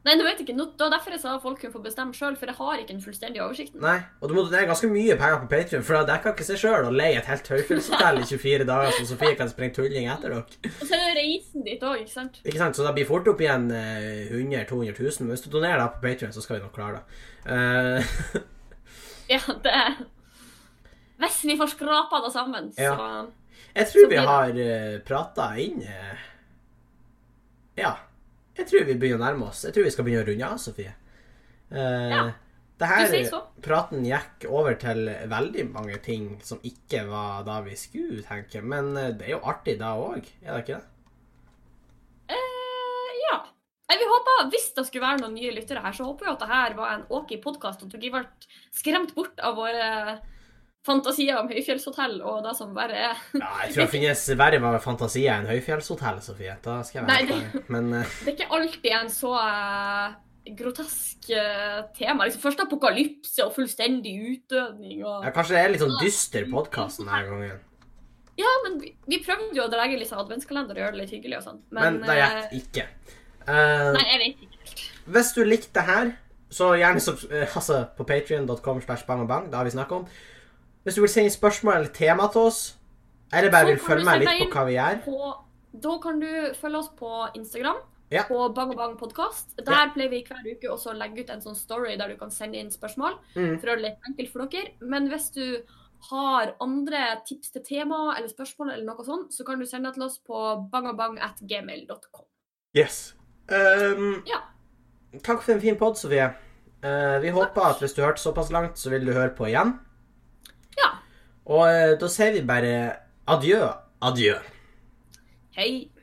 B: Nei, nå vet jeg ikke. Nå, det var derfor jeg sa at folk kunne få bestemme sjøl, for jeg har ikke den fullstendige oversikten.
A: Nei, og du må donere ganske mye penger på Patreon, for det dekker ikke seg sjøl å leie et helt høyfjellshotell i 24 dager, så Sofie kan springe tulling etter dere.
B: Og så er det reisen dit òg, ikke sant.
A: Ikke sant? Så det blir fort opp igjen eh, 100 000-200 000, men hvis du donerer deg på Patreon, så skal vi nok klare det. Eh,
B: Ja, det er Hvis vi får skrapa det sammen, så
A: Ja. Jeg
B: Så
A: tror vi
B: blir det-
A: har uh, prata inn eh, Ja. Jeg tror vi begynner å nærme oss. Jeg tror vi skal begynne å runde av, Sofie. Eh,
B: Ja,
A: Det her
B: du sier så.
A: praten gikk over til veldig mange ting som ikke var da vi skulle tenke, men eh, det er jo artig da òg, er det ikke det?
B: eh, Ja. Nei, vi håper, Hvis det skulle være noen nye lyttere her, så håper vi at det her var en ok podkast, og at dere ble skremt bort av våre fantasier om høyfjellshotell og det som verre er.
A: Ja, jeg tror det finnes verre fantasier enn høyfjellshotell, Sofie. Da skal jeg være
B: Nei,
A: helt ærlig. Men eh,
B: Det er ikke alltid en så eh, grotesk eh, tema. Liksom, først apokalypse og fullstendig utdødning og
A: ja, kanskje det er litt sånn dyster podkast denne gangen.
B: Ja, men vi, vi prøvde jo å dra litt sånn adventskalender og gjøre det litt hyggelig og sånn,
A: Men, det
B: eh,
A: gikk ikke. Eh,
B: Nei, jeg vet ikke helt.
A: Hvis du likte det her, så gjerne subs- eh, altså, på patreon.com slash bangbang, det har vi snakket om. Hvis du vil sende spørsmål eller tema til oss, eller
B: Så
A: bare vil
B: kan
A: følge
B: du
A: med
B: sende
A: litt på
B: inn-
A: hva vi gjør,
B: på, da kan du følge oss på Instagram.
A: Ja.
B: På Bang Bang Podcast. Der
A: Ja.
B: pleier vi hver uke også å legge ut en sånn story der du kan sende inn spørsmål.
A: Mm.
B: For å gjøre det litt enkelt for dere. Men hvis du har andre tips til tema eller spørsmål, eller noe sånt, så kan du sende det til oss på bangabang.gmail.com.
A: Yes. Ehm,
B: Ja.
A: Takk for en fin podd, Sofie. Eh, vi håper at hvis du hørte såpass langt, så vil du høre på igjen.
B: Ja.
A: Og eh, da sier vi bare adjø, adjø.
B: Hei.